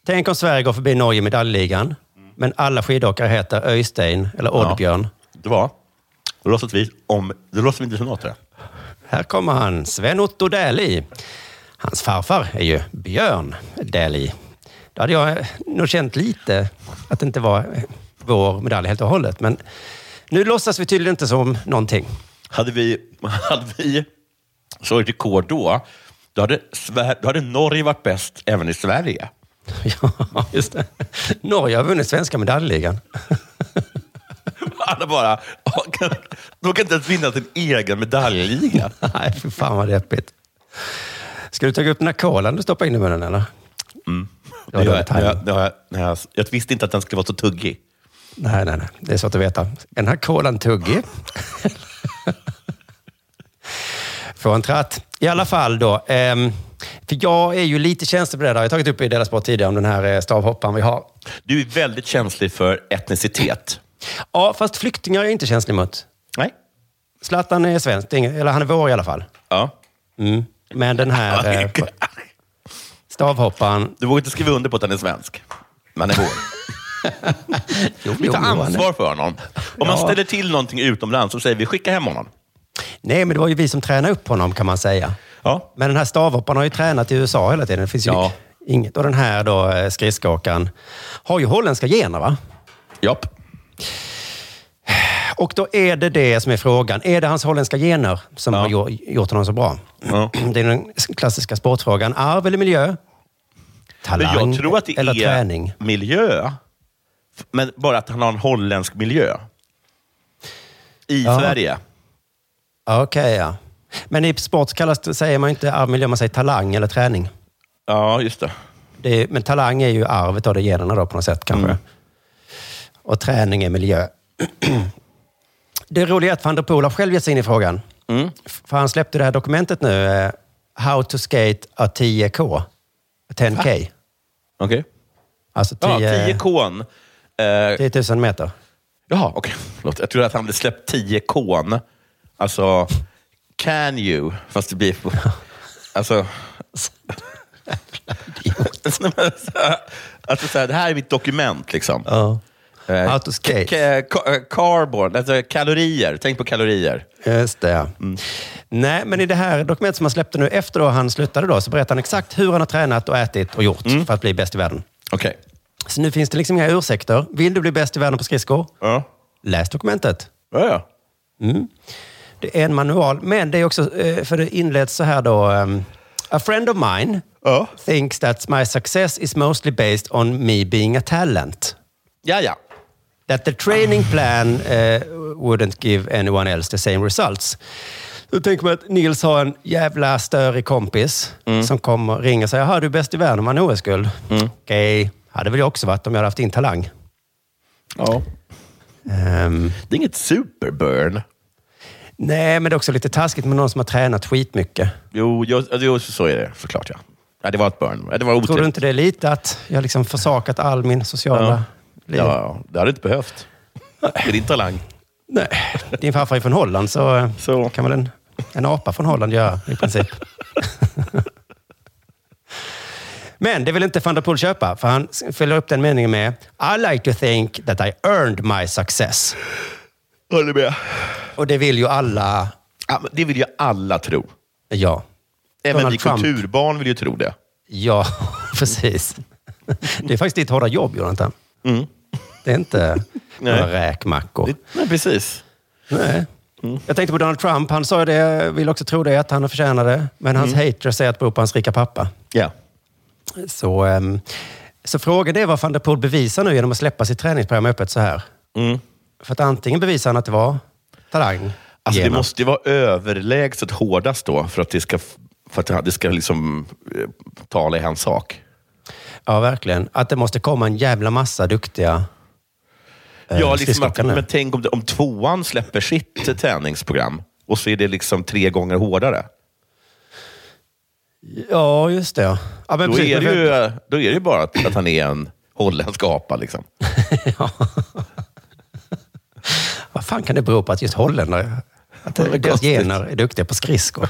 Speaker 5: tänk om Sverige går förbi Norge i medaljligan, men alla skidåkare heter Öystein eller Oddbjörn.
Speaker 3: Det var. Då låtsas vi om... Det låtsas vi inte som något. det.
Speaker 5: Här kommer han, Sven-Otto Dählie. Hans farfar är ju Björn Dählie. Då hade jag eh, nog känt lite att det inte var eh, vår medalj helt och hållet, men nu låtsas vi tydligen inte som någonting. [LAUGHS]
Speaker 3: Hade vi, [LAUGHS] hade vi slagit rekord då, då hade, Sver- då hade Norge varit bäst även i Sverige.
Speaker 5: Ja, just det. Norge har vunnit svenska medaljligan. [LAUGHS]
Speaker 3: Alla bara... De kan inte ens vinna sin egen medaljliga.
Speaker 5: Nej, för fan vad deppigt. Ska du ta upp den här kolan du stoppar in i munnen eller?
Speaker 3: Mm.
Speaker 5: Det var
Speaker 3: Det har
Speaker 5: dålig
Speaker 3: jag, det har
Speaker 5: timing.
Speaker 3: jag, det har jag, nej, jag, jag visste inte att den skulle vara så tuggig.
Speaker 5: Nej, nej, nej. Det är svårt att veta. Är den här kolan tuggig? Få en tratt. I alla fall då. ehm, för jag är ju lite känslig på det där. Jag har tagit upp i Dela Sport tidigare om den här eh, stavhopparen vi har.
Speaker 3: Du är väldigt känslig för etnicitet.
Speaker 5: Ja, fast flyktingar är jag inte känslig mot.
Speaker 3: Nej.
Speaker 5: Zlatan är svensk, det är ingen- eller han är vår i alla fall.
Speaker 3: Ja.
Speaker 5: Mm. Men den här eh, stavhopparen...
Speaker 3: Du vågar inte skriva under på att han är svensk. Man är vår. Vi tar
Speaker 5: jo, han är.
Speaker 3: ansvar för honom. Om man
Speaker 5: Ja.
Speaker 3: ställer till någonting utomlands så säger vi skicka hem honom.
Speaker 5: Nej, men det var ju vi som tränade upp honom kan man säga.
Speaker 3: Ja.
Speaker 5: Men den här stavhopparen har ju tränat i USA hela tiden. Det finns ju
Speaker 3: Ja.
Speaker 5: inget. Och den här då, eh, skridskoåkaren har ju holländska gener va?
Speaker 3: Japp.
Speaker 5: Och då är det det som är frågan. Är det hans holländska gener som har gjort- gjort honom så bra? Det är den klassiska sportfrågan. Arv eller miljö? Talang
Speaker 3: Men jag tror att det
Speaker 5: eller
Speaker 3: är
Speaker 5: träning?
Speaker 3: miljö. F- Men bara att han har en holländsk miljö. I
Speaker 5: Ja.
Speaker 3: Sverige.
Speaker 5: Okej, ja. Men i sport kallas, det- säger man ju inte arv miljö, man säger talang eller träning.
Speaker 3: Ja, just det.
Speaker 5: Det är, men talang är ju arvet av det generna då på något sätt kanske. Och träning är miljö. [CLEARS THROAT] det roliga är att van der Poel har själv gett sig in i frågan. F- För han släppte det här dokumentet nu. eh, How to skate a 10K. 10K.
Speaker 3: Okej.
Speaker 5: Alltså
Speaker 3: Ja,
Speaker 5: 10
Speaker 3: 10 k
Speaker 5: 10 000 meter.
Speaker 3: Jaha, okej. Förlåt. Jag tror att han hade släppt 10 k Alltså, can you? Fast det blir...
Speaker 5: [LAUGHS]
Speaker 3: Alltså... alltså så här, det här är mitt dokument liksom.
Speaker 5: Ja.
Speaker 3: Eh,
Speaker 5: Out of scale.
Speaker 3: k- k- eh, Cardboard, alltså kalorier. Tänk på kalorier.
Speaker 5: Just det. ja. Nej, men i det här dokumentet som han släppte nu efter då han slutade då, så berättar han exakt hur han har tränat och ätit och gjort för att bli bäst i världen.
Speaker 3: Okej.
Speaker 5: Så nu finns det liksom inga ursäkter. Vill du bli bäst i världen på skridskor?
Speaker 3: Ja.
Speaker 5: Läs dokumentet.
Speaker 3: Ja, ja.
Speaker 5: Mm. Det är en manual, men det är också, eh, för det inleds så här då. ehm, A friend of mine thinks that my success is mostly based on me being a talent.
Speaker 3: Ja, ja.
Speaker 5: that the training plan eh, wouldn't give anyone else the same results. Då tänker man att Nils har en jävla störig kompis som kommer och ringer och säger, jaha, du är bäst i världen om man är OS-guld. Okej, hade väl jag också varit om jag hade haft din talang.
Speaker 3: ja.
Speaker 5: Ehm,
Speaker 3: Det är inget superburn.
Speaker 5: nej, men det är också lite taskigt med någon som har tränat skitmycket.
Speaker 3: Jo, jag, jo, så är det såklart. Ja. Ja, det var ett burn. Ja, Det var
Speaker 5: Tror du
Speaker 3: otrevligt.
Speaker 5: inte det är lite att jag liksom försakat all min sociala...
Speaker 3: Ja. ja, det hade du
Speaker 5: [LAUGHS]
Speaker 3: inte behövt. Det är din talang.
Speaker 5: Nej. Din farfar är från Holland, så, eh, kan väl en, en apa från Holland göra i princip. [LAUGHS] Men det vill inte van der Poel köpa, för han s- följer upp den meningen med I like to think that I earned my success.
Speaker 3: Håller med.
Speaker 5: Och det vill ju alla.
Speaker 3: Ja, men det vill ju alla tro.
Speaker 5: Ja.
Speaker 3: Även
Speaker 5: Donald
Speaker 3: vi
Speaker 5: Trump.
Speaker 3: kulturbarn vill ju tro det.
Speaker 5: Ja, [LAUGHS] precis. Det är faktiskt ditt hårda jobb, Jonathan.
Speaker 3: Mm.
Speaker 5: Det är inte
Speaker 3: [LAUGHS] Nej.
Speaker 5: några räkmackor.
Speaker 3: Nej, precis.
Speaker 5: Nej. Jag tänkte på Donald Trump. Han sa ju det, jag vill också tro det, att han förtjänar det. Men hans
Speaker 3: Mm.
Speaker 5: haters säger att det beror på hans rika pappa.
Speaker 3: Ja.
Speaker 5: Så, ehm, så frågan är vad van der Poel bevisar nu genom att släppa sitt träningsprogram öppet så här.
Speaker 3: Mm.
Speaker 5: För att antingen bevisar han att det var talang.
Speaker 3: Alltså, det
Speaker 5: gener.
Speaker 3: måste ju vara överlägset hårdast då för att det ska, för att det ska liksom, eh, tala i hans sak.
Speaker 5: Ja, verkligen. Att det måste komma en jävla massa duktiga eh,
Speaker 3: ja, liksom att,
Speaker 5: skridskoåkare nu.
Speaker 3: men tänk om, det- om tvåan släpper sitt eh, träningsprogram och så är det liksom tre gånger hårdare.
Speaker 5: Ja, just det. ja. Ja, men
Speaker 3: då,
Speaker 5: precis,
Speaker 3: är
Speaker 5: men-
Speaker 3: det ju, då är det ju bara att, att han är en holländsk apa. Liksom.
Speaker 5: Vad fan kan det bero på att just holländare, att deras
Speaker 3: konstigt.
Speaker 5: gener är duktiga på skridskor?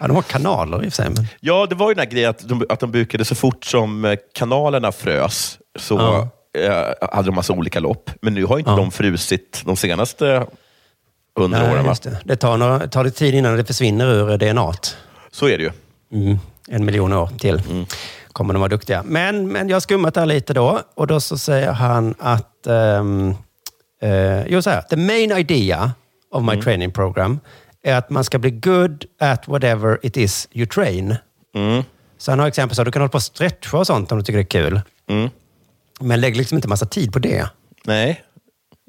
Speaker 5: Ja, de har kanaler i och för sig. Men...
Speaker 3: Ja, det var ju den här grejen att de, att de bukade så fort som eh, kanalerna frös. Så eh, hade de massa olika lopp. Men nu har ju inte de frusit de senaste hundra
Speaker 5: Nej,
Speaker 3: åren. Va?
Speaker 5: just det. Det tar, några, tar det tid innan det försvinner ur DNA. t.
Speaker 3: Så är det ju.
Speaker 5: Mm. En miljon år till
Speaker 3: Mm.
Speaker 5: kommer de vara duktiga. Men, men jag har skummat där lite då och då så säger han att... ehm, eh, jo, så här. The main idea of
Speaker 3: Mm.
Speaker 5: my training program är att man ska bli good at whatever it is you train.
Speaker 3: Mm.
Speaker 5: Så han har exempel så att du kan hålla på och stretcha och sånt om du tycker det är kul.
Speaker 3: Mm.
Speaker 5: Men lägg liksom inte massa tid på det.
Speaker 3: Nej.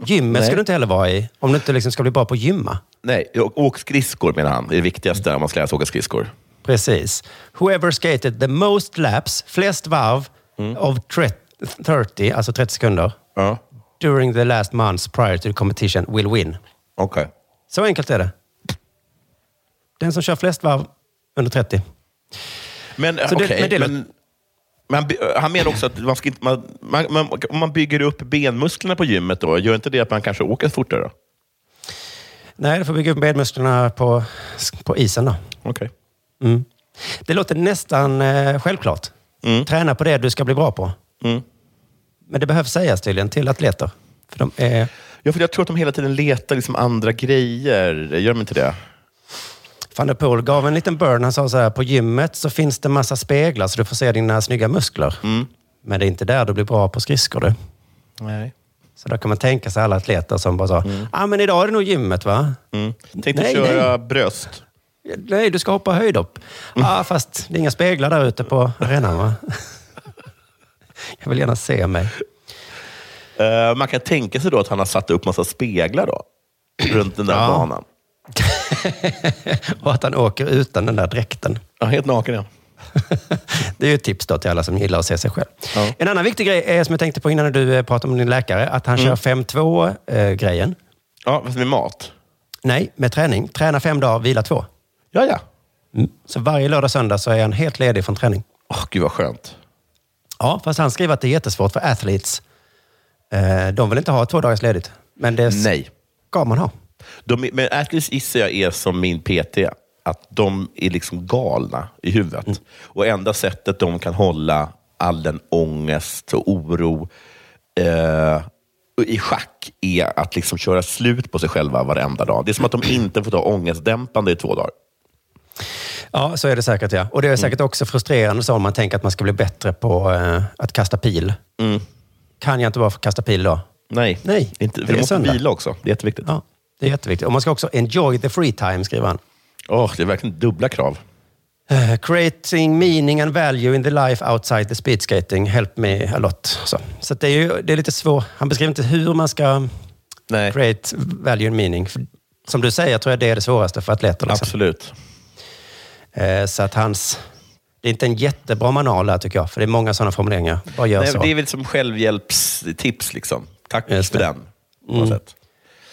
Speaker 5: Gymmet
Speaker 3: Nej.
Speaker 5: ska du inte heller vara i om du inte liksom ska bli bra på att gymma.
Speaker 3: Nej, och, åk skridskor menar han. Det är det viktigaste om man ska lära sig åka skridskor.
Speaker 5: Precis. Whoever skated the most laps, flest varv, of tre- 30, alltså 30 sekunder,
Speaker 3: Ja.
Speaker 5: during the last months prior to the competition will win.
Speaker 3: Okej.
Speaker 5: Så enkelt är det. Den som kör flest varv under 30.
Speaker 3: Men eh,
Speaker 5: Så det-
Speaker 3: okej,
Speaker 5: men det låter-
Speaker 3: men, men by- han menar också att man ska inte, man, man, man, om man bygger upp benmusklerna på gymmet, då, gör inte det att man kanske åker fortare? Då?
Speaker 5: Nej, du får bygga upp benmusklerna på, på isen då.
Speaker 3: Okej.
Speaker 5: Mm. Det låter nästan eh, självklart. Träna på det du ska bli bra på.
Speaker 3: Mm.
Speaker 5: Men det behövs sägas tydligen till atleter. För de är...
Speaker 3: Ja, för jag tror att de hela tiden letar liksom andra grejer. Gör de inte det?
Speaker 5: Van der Poel gav en liten burn. Han sa så här, på gymmet så finns det massa speglar så du får se dina snygga muskler.
Speaker 3: Mm.
Speaker 5: Men det är inte där du blir bra på skridskor du.
Speaker 3: Nej.
Speaker 5: Så då kan man tänka sig alla atleter som bara sa, ah, men idag är det nog gymmet va?
Speaker 3: Mm. Tänkte köra bröst.
Speaker 5: Nej, du ska hoppa höjdhopp.
Speaker 3: Mm.
Speaker 5: Ja, fast det är inga speglar där ute på arenan va? [LAUGHS] Jag vill gärna se mig.
Speaker 3: Eh, man kan tänka sig då att han har satt upp massa speglar då, runt den där banan.
Speaker 5: Och att han åker utan den där dräkten.
Speaker 3: Ja, helt naken ja.
Speaker 5: Det är ju ett tips då till alla som gillar att se sig själv. En annan viktig grej är, som jag tänkte på innan när du eh, pratade om din läkare, att han
Speaker 3: Mm.
Speaker 5: kör eh, 5-2-grejen.
Speaker 3: Ja, fast med mat?
Speaker 5: Nej, med träning. Träna fem dagar, vila två.
Speaker 3: Ja, ja.
Speaker 5: Mm. Så varje lördag och söndag så är han helt ledig från träning.
Speaker 3: Åh, gud vad skönt.
Speaker 5: Ja, fast han skriver att det är jättesvårt för athletes. Eh, De vill inte ha två dagars ledigt. Men det
Speaker 3: Nej.
Speaker 5: ska man ha.
Speaker 3: De, är- men Atlas gissar jag är som min PT, att de är liksom galna i huvudet.
Speaker 5: Mm.
Speaker 3: Och enda sättet de kan hålla all den ångest och oro eh, i schack är att liksom köra slut på sig själva varenda dag. Det är
Speaker 5: [CLEARS THROAT]
Speaker 3: som att de inte får ta ångestdämpande i två dagar.
Speaker 5: Ja, så är det säkert ja. Och det är säkert också frustrerande så om man tänker att man ska bli bättre på eh, att kasta pil. Kan jag inte bara få kasta pil då?
Speaker 3: Nej,
Speaker 5: Nej
Speaker 3: inte,
Speaker 5: det
Speaker 3: de
Speaker 5: är
Speaker 3: måste
Speaker 5: söndag.
Speaker 3: vila också. Det är jätteviktigt.
Speaker 5: Ja, det är jätteviktigt. Och man ska också enjoy the free time, skriver han.
Speaker 3: Åh, det är verkligen dubbla krav.
Speaker 5: Eh, creating meaning and value in the life outside the speed skating. Help me a lot. Så, så att det, är ju, det är lite svårt. Han beskriver inte hur man ska
Speaker 3: Nej.
Speaker 5: create value and meaning. För, som du säger tror jag det är det svåraste för atleter. Liksom.
Speaker 3: Absolut.
Speaker 5: Eh, så att hans... Det är inte en jättebra manual här tycker jag, för det är många sådana formuleringar. Bara gör
Speaker 3: Nej,
Speaker 5: så.
Speaker 3: det är väl som självhjälpstips. Liksom. Tack för den. På något
Speaker 5: Mm.
Speaker 3: sätt.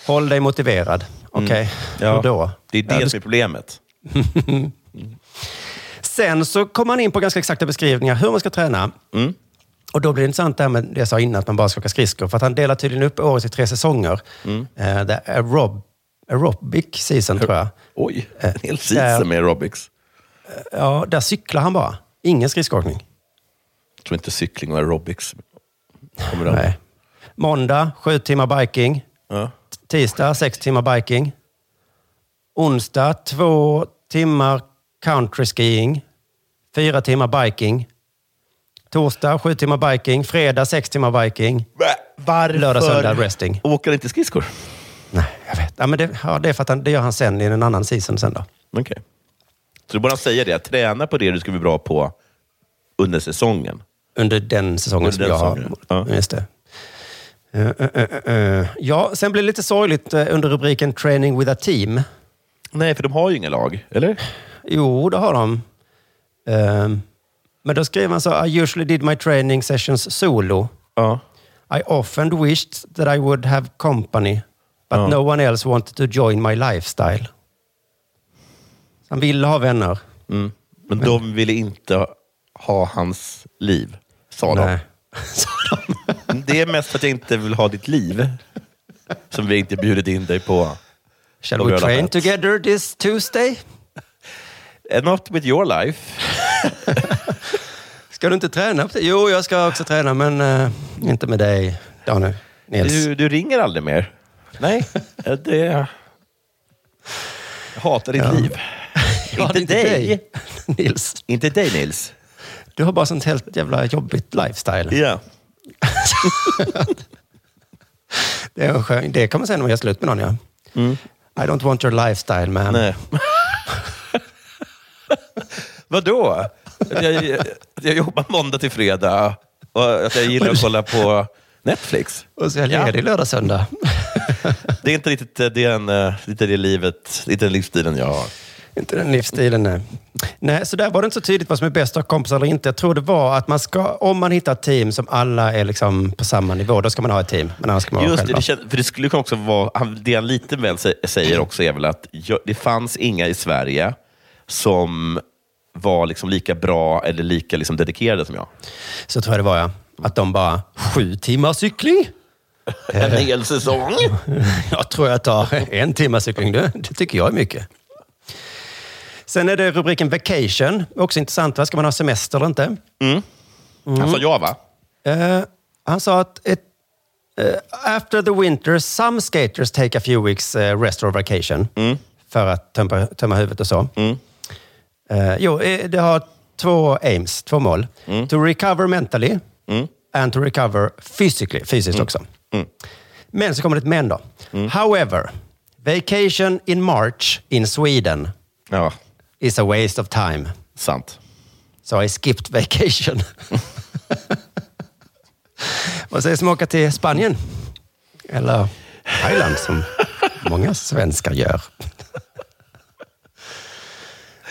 Speaker 5: Håll dig motiverad. Okej,
Speaker 3: Mm. Ja,
Speaker 5: hur då?
Speaker 3: Det är det
Speaker 5: Ja, du-
Speaker 3: som är problemet.
Speaker 5: Sen så kommer man in på ganska exakta beskrivningar hur man ska träna. Och då blir det intressant det här med det jag sa innan, att man bara ska åka skridskor. För att han delar tydligen upp året i tre säsonger. Mm. Eh, det är aerob, aerobic season, tror jag.
Speaker 3: Oj, [LAUGHS] en hel
Speaker 5: där-
Speaker 3: season med aerobics.
Speaker 5: Ja, där cyklar han bara. Ingen skridskoåkning.
Speaker 3: Jag tror inte cykling och aerobics kommer den.
Speaker 5: Nej. Måndag, sju timmar biking.
Speaker 3: Ja.
Speaker 5: Tisdag, sex timmar biking. Onsdag, två timmar country skiing. Fyra timmar biking. Torsdag, sju timmar biking. Fredag, sex timmar biking.
Speaker 3: Varför
Speaker 5: Lördag, söndag, resting.
Speaker 3: åker han inte skridskor?
Speaker 5: Ja, men det, ja, det är för att han, det gör han sen i en annan season sen då.
Speaker 3: Okej. Så du bara säger det, träna på det du ska bli bra på under säsongen.
Speaker 5: Under den säsongen
Speaker 3: Under
Speaker 5: som
Speaker 3: den
Speaker 5: jag har.
Speaker 3: säsongen,
Speaker 5: Ja. Just det. Eh, eh, eh, eh. Ja, sen blir det lite sorgligt eh, under rubriken Training with a team.
Speaker 3: Nej, för de har ju inga lag, eller?
Speaker 5: Jo, det har de. Ehm, men då skrev han så I usually did my training sessions solo.
Speaker 3: Ja.
Speaker 5: I often wished that I would have company, but
Speaker 3: Ja.
Speaker 5: no one else wanted to join my lifestyle. Han ville ha vänner.
Speaker 3: Mm. Men de ville inte ha hans liv, sa
Speaker 5: Nej.
Speaker 3: de. Det är mest för att jag inte vill ha ditt liv, som vi inte bjudit in dig på.
Speaker 5: Shall
Speaker 3: På
Speaker 5: we
Speaker 3: röda
Speaker 5: train
Speaker 3: fält.
Speaker 5: together this Tuesday?
Speaker 3: Eh, Not with your life.
Speaker 5: Ska du inte träna? Jo, jag ska också träna, men eh, inte med dig, Daniel. Nils.
Speaker 3: Du, du ringer aldrig mer? Nej, Eh, det... Jag hatar ditt liv.
Speaker 5: [LAUGHS]
Speaker 3: [LAUGHS]
Speaker 5: Ja, det är
Speaker 3: inte dig.
Speaker 5: [LAUGHS] Nils.
Speaker 3: Inte dig, Nils.
Speaker 5: Du har bara sånt helt jävla jobbigt lifestyle.
Speaker 3: Ja.
Speaker 5: Det, är en skön, det kan man säga när man gör slut med någon, ja. I don't want your lifestyle, man.
Speaker 3: Mm. Nej. [LAUGHS] Vadå? Att Jag, jag, jag jobbar måndag till fredag och att jag gillar att kolla på Netflix.
Speaker 5: Och så är jag
Speaker 3: Ja.
Speaker 5: ledig lördag, söndag. [LAUGHS]
Speaker 3: Det är inte riktigt eh, det, är en, eh, lite det livet, inte den livsstilen jag har.
Speaker 5: Inte den livsstilen, nej. Nej, så där var det inte så tydligt vad som är bästa kompisar eller inte. Jag tror det var att man ska, om man hittar ett team som alla är liksom på samma nivå, då ska man ha ett team. Men annars ska man vara
Speaker 3: Just det,
Speaker 5: själv.
Speaker 3: det känns, för det skulle ju också vara, han- det han lite väl sä- säger också är väl att jag, det fanns inga i Sverige som var liksom lika bra eller lika liksom dedikerade som jag.
Speaker 5: Så tror jag det var, ja. Att de bara, sju timmar cykling? [LAUGHS]
Speaker 3: En hel [LAUGHS] säsong?
Speaker 5: Jag tror jag tar [LAUGHS] en timme cykling. Det, det tycker jag är mycket. Sen är det rubriken vacation. Också intressant. Va? Ska man ha semester eller inte?
Speaker 3: Han sa ja, Alltså, va?
Speaker 5: Eh, han sa att ett, eh, after the winter some skaters take a few weeks eh, rest or vacation. För att tömma, tömma huvudet och så. Eh, jo, eh, det har två aims, två mål. To recover mentally and to recover physically, fysiskt också. Men så kommer det ett men då. However, vacation in March in Sweden is a waste of time.
Speaker 3: Sant.
Speaker 5: Så I skipped vacation. Vad sägs om att åka till Spanien? Eller Thailand som många svenskar gör.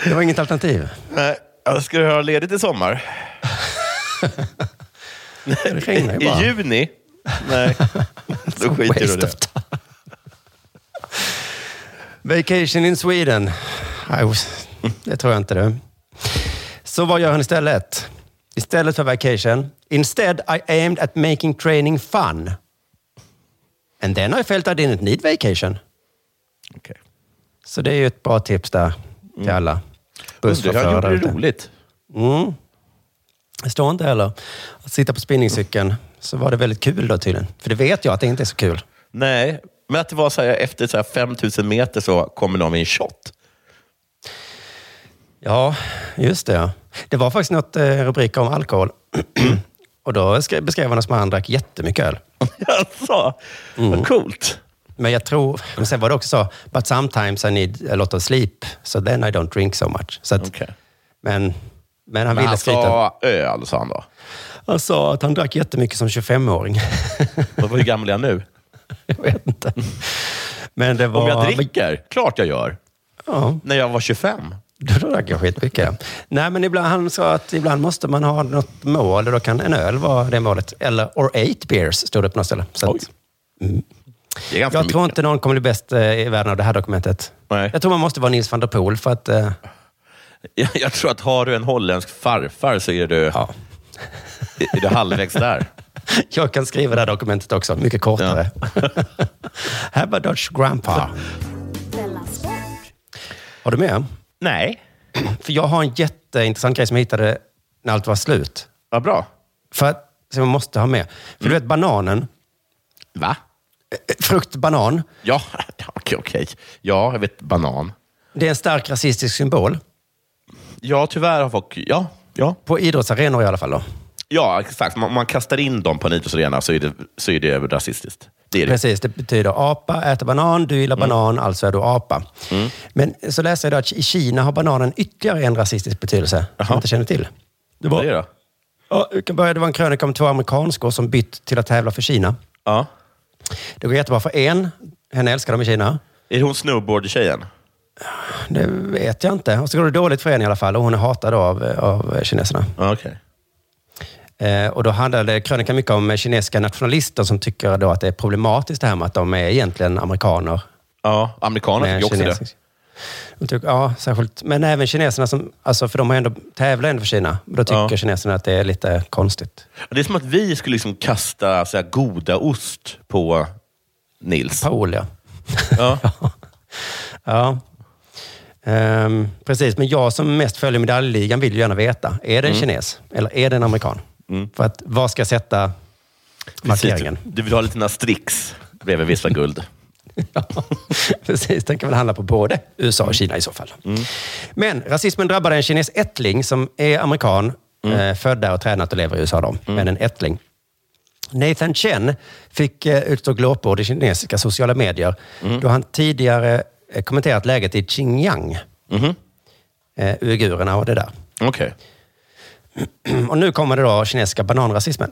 Speaker 5: Det var inget alternativ.
Speaker 3: Nej, jag ska du ha ledigt i sommar?
Speaker 5: Det regnar ju
Speaker 3: I
Speaker 5: bara.
Speaker 3: juni? [LAUGHS] Nej, då skiter du i
Speaker 5: Waste
Speaker 3: det.
Speaker 5: of time. Vacation in Sweden. Nej, Det tror jag inte du. Så vad gör han istället? Istället för vacation. Instead I aimed at making training fun. And then I felt I didn't need vacation.
Speaker 3: Okej.
Speaker 5: Så det är ju ett bra tips där till alla
Speaker 3: Mm. Undrar,
Speaker 5: busschaufförer.
Speaker 3: Han gjorde
Speaker 5: där
Speaker 3: det
Speaker 5: ute.
Speaker 3: roligt.
Speaker 5: Mm. Det står inte heller. Att sitta på spinningcykeln så var det väldigt kul då tydligen. För det vet jag att det inte är så kul.
Speaker 3: Nej, men att det var så här, efter så här 5000 meter så kommer någon med en shot. [LAUGHS]
Speaker 5: Ja, just det. ja. Det var faktiskt något eh, rubrik om alkohol. [CLEARS THROAT] Och då skre- beskrev han det som att han drack jättemycket öl.
Speaker 3: Alltså, vad coolt.
Speaker 5: Men jag tror... Men sen var det också så, but sometimes I need a lot of sleep, so then I don't drink so much. Så att, Men, men han
Speaker 3: Men
Speaker 5: ville
Speaker 3: han
Speaker 5: skryta.
Speaker 3: sa öl, sa han då.
Speaker 5: Han sa att han drack jättemycket som [LAUGHS] 25-åring.
Speaker 3: Och Hur gammal är
Speaker 5: [LAUGHS]
Speaker 3: jag nu?
Speaker 5: jag vet inte. Men det var...
Speaker 3: Om jag dricker? Klart jag gör.
Speaker 5: Ja.
Speaker 3: När jag var 25?
Speaker 5: Då drack jag skitmycket. Nej, men ibland, han sa att ibland måste man ha något mål och då kan en öl vara det målet. Eller, or eight beers, stod det på något ställe. Så att,
Speaker 3: Det är ganska
Speaker 5: jag
Speaker 3: mycket.
Speaker 5: tror inte någon kommer bli bäst eh, i världen av det här dokumentet.
Speaker 3: Nej.
Speaker 5: Jag tror man måste vara Nils van der Poel för att... eh, [LAUGHS]
Speaker 3: Jag, [LAUGHS] jag tror att har du en holländsk farfar så är du, [LAUGHS] är du halvvägs där.
Speaker 5: jag kan skriva det här dokumentet också, mycket kortare. [LAUGHS] Have a Dutch grandpa.
Speaker 7: Della Sport.
Speaker 5: Har du med?
Speaker 3: Nej.
Speaker 5: För jag har en jätteintressant grej som jag hittade när allt var slut.
Speaker 3: Vad bra.
Speaker 5: För att, som jag måste ha med. För du vet bananen,
Speaker 3: Va?
Speaker 5: eh, fruktbanan,
Speaker 3: Ja, [LAUGHS] okej, okej. Ja, jag vet banan.
Speaker 5: det är en stark rasistisk symbol.
Speaker 3: Ja, tyvärr har folk... Ja, ja.
Speaker 5: På idrottsarenor i alla fall. Då.
Speaker 3: Ja, exakt. Om man kastar in dem på en idrottsarena så är det, så är det rasistiskt. Det är det.
Speaker 5: Precis, det betyder apa äter banan, du gillar banan, alltså är du apa. Men så läser jag då att i Kina har bananen ytterligare en rasistisk betydelse som jag inte känner till. Det
Speaker 3: Vad är det då?
Speaker 5: Ja, vi kan börja. Det var en krönika om två amerikanskor som bytt till att tävla för Kina.
Speaker 3: Ja.
Speaker 5: Det går jättebra för en. Henne älskar de i Kina.
Speaker 3: Är det hon snowboardtjejen?
Speaker 5: Det vet jag inte. Och så går det dåligt för en i alla fall och hon är hatad av, eh, av kineserna.
Speaker 3: Ja, okej.
Speaker 5: Eh, och då handlade krönikan mycket om kinesiska nationalister som tycker då att det är problematiskt det här med att de är egentligen amerikaner.
Speaker 3: Ja, amerikanerna
Speaker 5: med
Speaker 3: tycker också det.
Speaker 5: kinesisk- De tycker, ja, särskilt. Men även kineserna, som, alltså, för de har ändå tävlat ändå för Kina. Då tycker
Speaker 3: Ja.
Speaker 5: kineserna att det är lite konstigt.
Speaker 3: Det är som att vi skulle liksom kasta så här, goda ost på Nils.
Speaker 5: Paul, ja. [LAUGHS]
Speaker 3: Ja.
Speaker 5: Ja. Ehm, precis, men jag som mest följer medaljligan vill ju gärna veta. Är
Speaker 3: Mm.
Speaker 5: det en kines eller är det en amerikan? För att, vad ska jag sätta
Speaker 3: Precis. typ.
Speaker 5: markeringen?
Speaker 3: Du vill ha lite Nastrix bredvid Vissla guld.
Speaker 5: Ja, [LAUGHS] precis. Den kan väl handla på både USA och Kina i så fall. Men rasismen drabbade en kines ättling som är amerikan, eh, född där och tränat och lever i USA. Då, Men en ättling. Nathan Chen fick eh, utstå glåpord i kinesiska sociala medier då han tidigare eh, kommenterat läget i Xinjiang. Eh, uigurerna och det där.
Speaker 3: [LAUGHS]
Speaker 5: Mm,
Speaker 3: Okej.
Speaker 5: Och nu kommer det då kinesiska bananrasismen.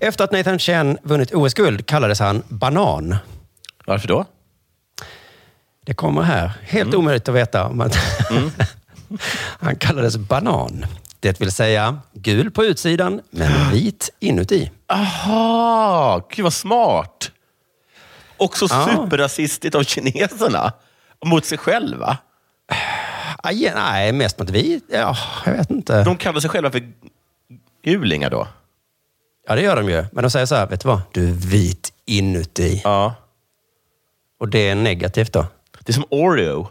Speaker 5: Efter att Nathan Chen vunnit OS-guld kallades han banan.
Speaker 3: Varför då?
Speaker 5: Det kommer här. Helt
Speaker 3: Mm.
Speaker 5: omöjligt att veta. Om att [LAUGHS] Han kallades banan. Det vill säga gul på utsidan,
Speaker 3: [GASPS]
Speaker 5: men vit inuti.
Speaker 3: Aha, gud vad smart. Också
Speaker 5: Ah.
Speaker 3: superrasistiskt av kineserna. Mot sig själva.
Speaker 5: Aj, ja, nej, mest mot vi. Ja, jag vet inte.
Speaker 3: De kallar sig själva för gulingar då?
Speaker 5: Ja, det gör de ju. Men de säger så här, vet du vad? Du är vit inuti.
Speaker 3: Ja.
Speaker 5: Och det är negativt då.
Speaker 3: Det är som Oreo.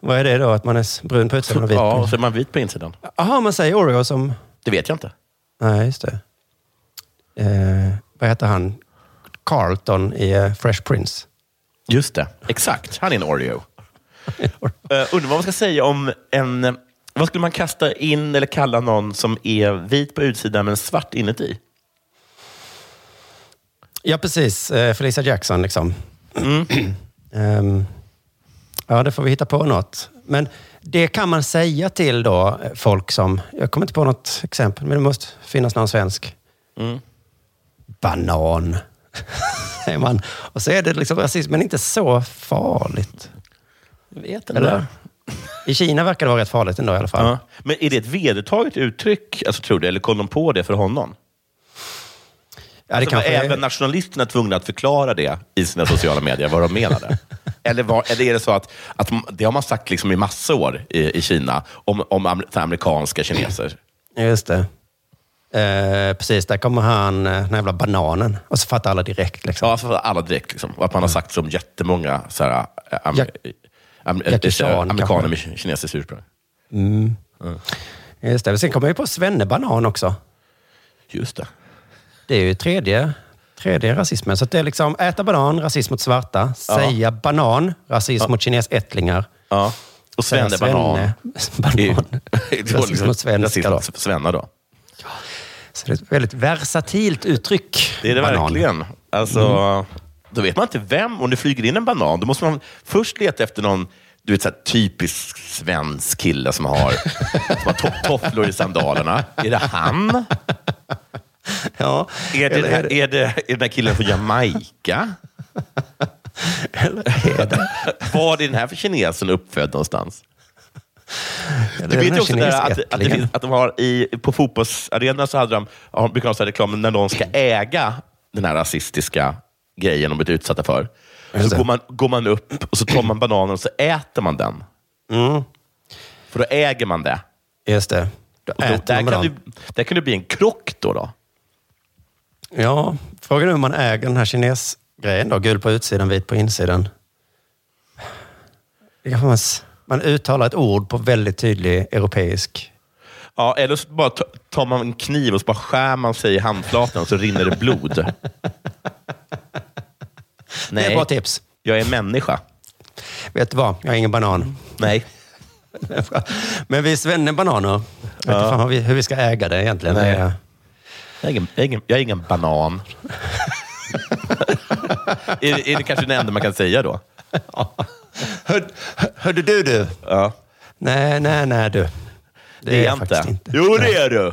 Speaker 5: Vad är det då? Att man är s- brun på utsidan och vit
Speaker 3: Ja,
Speaker 5: på
Speaker 3: och så är man vit på insidan.
Speaker 5: Jaha, man säger Oreo som...
Speaker 3: Det vet jag inte.
Speaker 5: Nej, just det. Eh, vad heter han? Carlton i eh, Fresh Prince.
Speaker 3: Just det. Exakt. Han är
Speaker 5: [LAUGHS]
Speaker 3: en Oreo. Eh, undrar vad man ska säga om en... Vad skulle man kasta in eller kalla någon som är vit på utsidan men svart inuti?
Speaker 5: Ja, precis. Eh, Felicia Jackson liksom.
Speaker 3: Mm.
Speaker 5: [CLEARS THROAT] Ehm, ja, det får vi hitta på något. Men det kan man säga till då eh, folk som... Jag kommer inte på något exempel, men det måste finnas någon svensk.
Speaker 3: Mm.
Speaker 5: Banan, [LAUGHS] säger man. Och så är det liksom rasism, men inte så farligt.
Speaker 3: Vet
Speaker 5: Eller? I Kina verkar det vara rätt farligt ändå i alla fall.
Speaker 3: Ja. Men är det ett vedertaget uttryck, alltså, tror du? Eller kom de på det för honom?
Speaker 5: Ja,
Speaker 3: alltså, var
Speaker 5: kanske är-
Speaker 3: även nationalisterna tvungna att förklara det i sina sociala medier, vad
Speaker 5: [LAUGHS]
Speaker 3: de menade? Eller, var, eller är det så att, att det har man sagt liksom i massa år i, i Kina om, om amer, så här amerikanska kineser?
Speaker 5: Just det. Eh, precis, där kommer han, eh, den här jävla bananen. Och så fattar alla direkt. Liksom. Mm.
Speaker 3: Ja, alltså för alla direkt. Liksom. Och att man har sagt som jättemånga så här, äh, am,
Speaker 5: Jack-
Speaker 3: am, äh,
Speaker 5: Jackie
Speaker 3: äh,
Speaker 5: Chan,
Speaker 3: amerikaner
Speaker 5: kanske.
Speaker 3: med kin- kinesiskt ursprung.
Speaker 5: Mm. Just det. Men Sen kommer vi på svennebanan också.
Speaker 3: Just det.
Speaker 5: Det är ju tredje, tredje rasismen. Så att det är liksom äta banan, rasism mot svarta.
Speaker 3: Ja.
Speaker 5: Säga banan, rasism mot kinesättlingar.
Speaker 3: Ja. Och
Speaker 5: Säga
Speaker 3: svennebanan.
Speaker 5: [LAUGHS] svenne-
Speaker 3: Banan. [LAUGHS]
Speaker 5: Banan.
Speaker 3: liksom
Speaker 5: rasism mot svenskar. då.
Speaker 3: Rasism alltså. mot svennar då.
Speaker 5: Så det är ett väldigt versatilt uttryck.
Speaker 3: Det är det
Speaker 5: banan. Mm.
Speaker 3: verkligen. Alltså, Då vet man inte vem. Om det flyger in en banan, då måste man först leta efter någon du vet, så här, typisk svensk kille
Speaker 5: [LAUGHS]
Speaker 3: som har, som har to- tofflor i sandalerna. Är det han? [LAUGHS]
Speaker 5: Ja.
Speaker 3: Är det,
Speaker 5: Eller
Speaker 3: är det, är det, den här killen från Jamaica?
Speaker 5: Eller är det?
Speaker 3: Var är den här för kinesen uppfödd någonstans?
Speaker 5: Eller
Speaker 3: Du
Speaker 5: är det
Speaker 3: vet
Speaker 5: den
Speaker 3: ju också där att, att, det
Speaker 5: kinesättlingen?
Speaker 3: finns, att de har i, på fotbollsarenan så hade de, ja, brukar de så här reklam när någon ska äga den här rasistiska grejen de blivit utsatta för.
Speaker 5: Just
Speaker 3: Så
Speaker 5: det.
Speaker 3: går man, går man upp och så tar man bananen och så äter man den.
Speaker 5: Mm.
Speaker 3: För då äger man det.
Speaker 5: Just det. Då
Speaker 3: Och då,
Speaker 5: äter man
Speaker 3: där, kan
Speaker 5: banan.
Speaker 3: du, där kan det bli en krock då. då.
Speaker 5: Ja, frågan är hur man äger den här kinesgrejen då. Gul på utsidan, vit på insidan. Det kan man, s- man uttalar ett ord på väldigt tydlig europeisk...
Speaker 3: Ja, eller så bara ta- tar man en kniv och så bara skär man sig i handflatan och så rinner det blod.
Speaker 5: Det är
Speaker 3: Nej,
Speaker 5: bra tips.
Speaker 3: jag är människa.
Speaker 5: Vet du vad? Jag är ingen banan. [LAUGHS]
Speaker 3: Nej.
Speaker 5: Men vi svennebananer. Jag vet inte fan vad vi, hur vi ska äga det egentligen.
Speaker 3: Nej.
Speaker 5: Det är-
Speaker 3: Jag är ingen, jag är ingen, jag är ingen banan. [LAUGHS] är, är det kanske det enda man kan säga då?
Speaker 5: [LAUGHS] Hör, hör- hörde du du?
Speaker 3: Ja.
Speaker 5: Nej, nej, nej du. Det,
Speaker 3: Det är jag inte.
Speaker 5: faktiskt
Speaker 3: Jo, det är du!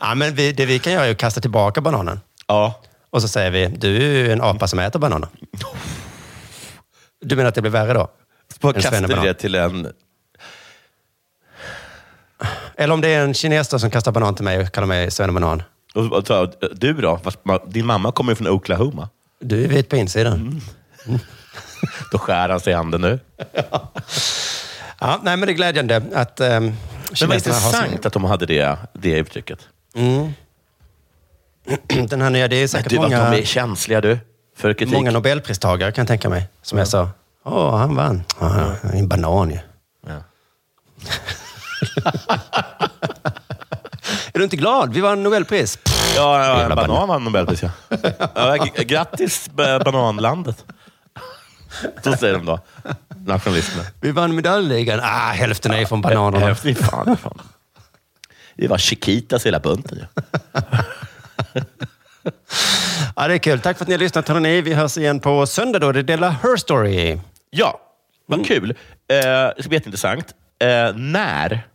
Speaker 5: Ja, men vi, det vi kan göra är att kasta tillbaka bananen.
Speaker 3: Ja.
Speaker 5: Och så säger vi, du är ju en apa som äter bananer. Du menar att det blir värre då?
Speaker 3: Bara
Speaker 5: En
Speaker 3: kastade
Speaker 5: svennebanan.
Speaker 3: det till en...
Speaker 5: Eller om det är en kines då som kastar banan till mig och kallar mig svennebanan.
Speaker 3: och- och sa, Du då? Fast ma- Din mamma kommer ju från Oklahoma.
Speaker 5: Du är vit på insidan.
Speaker 3: Mm. Då skär han sig i handen nu.
Speaker 5: Ja, nej, men det är glädjande att um,
Speaker 3: Men vad intressant att de hade det, det uttrycket.
Speaker 5: Mm. Den här nya, det är säkert
Speaker 3: Du, vad
Speaker 5: många,
Speaker 3: de är känsliga du, för kritik.
Speaker 5: många Nobelpristagare kan jag tänka mig. Som jag sa, åh, han vann. Ja, han är en banan ju.
Speaker 3: Ja.
Speaker 5: Är du inte glad? Vi vann Nobelpris.
Speaker 3: Ja, ja, en
Speaker 5: Jävla
Speaker 3: banan
Speaker 5: banan.
Speaker 3: vann Nobelpris. Ja. Ja, g- grattis b- bananlandet. Så säger de då, nationalisterna.
Speaker 5: Vi vann medaljligan. Ah, hälften är ju från bananerna.
Speaker 3: Häftigt. Eh, Fan, fan. Det var Chiquitas hela bunten. ju.
Speaker 5: Ja, det är kul. Tack för att ni har lyssnat, hörni. Vi hörs igen på söndag då. Det är Della Her Story.
Speaker 3: Ja, vad
Speaker 5: Mm.
Speaker 3: kul. Eh, det ska bli jätteintressant. Eh, när?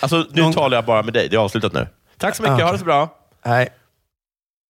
Speaker 3: Alltså, nu
Speaker 5: Någon-
Speaker 3: talar jag bara med dig. Det är avslutat nu. Tack så mycket.
Speaker 5: Ah,
Speaker 3: Ha det så bra.
Speaker 5: Hej.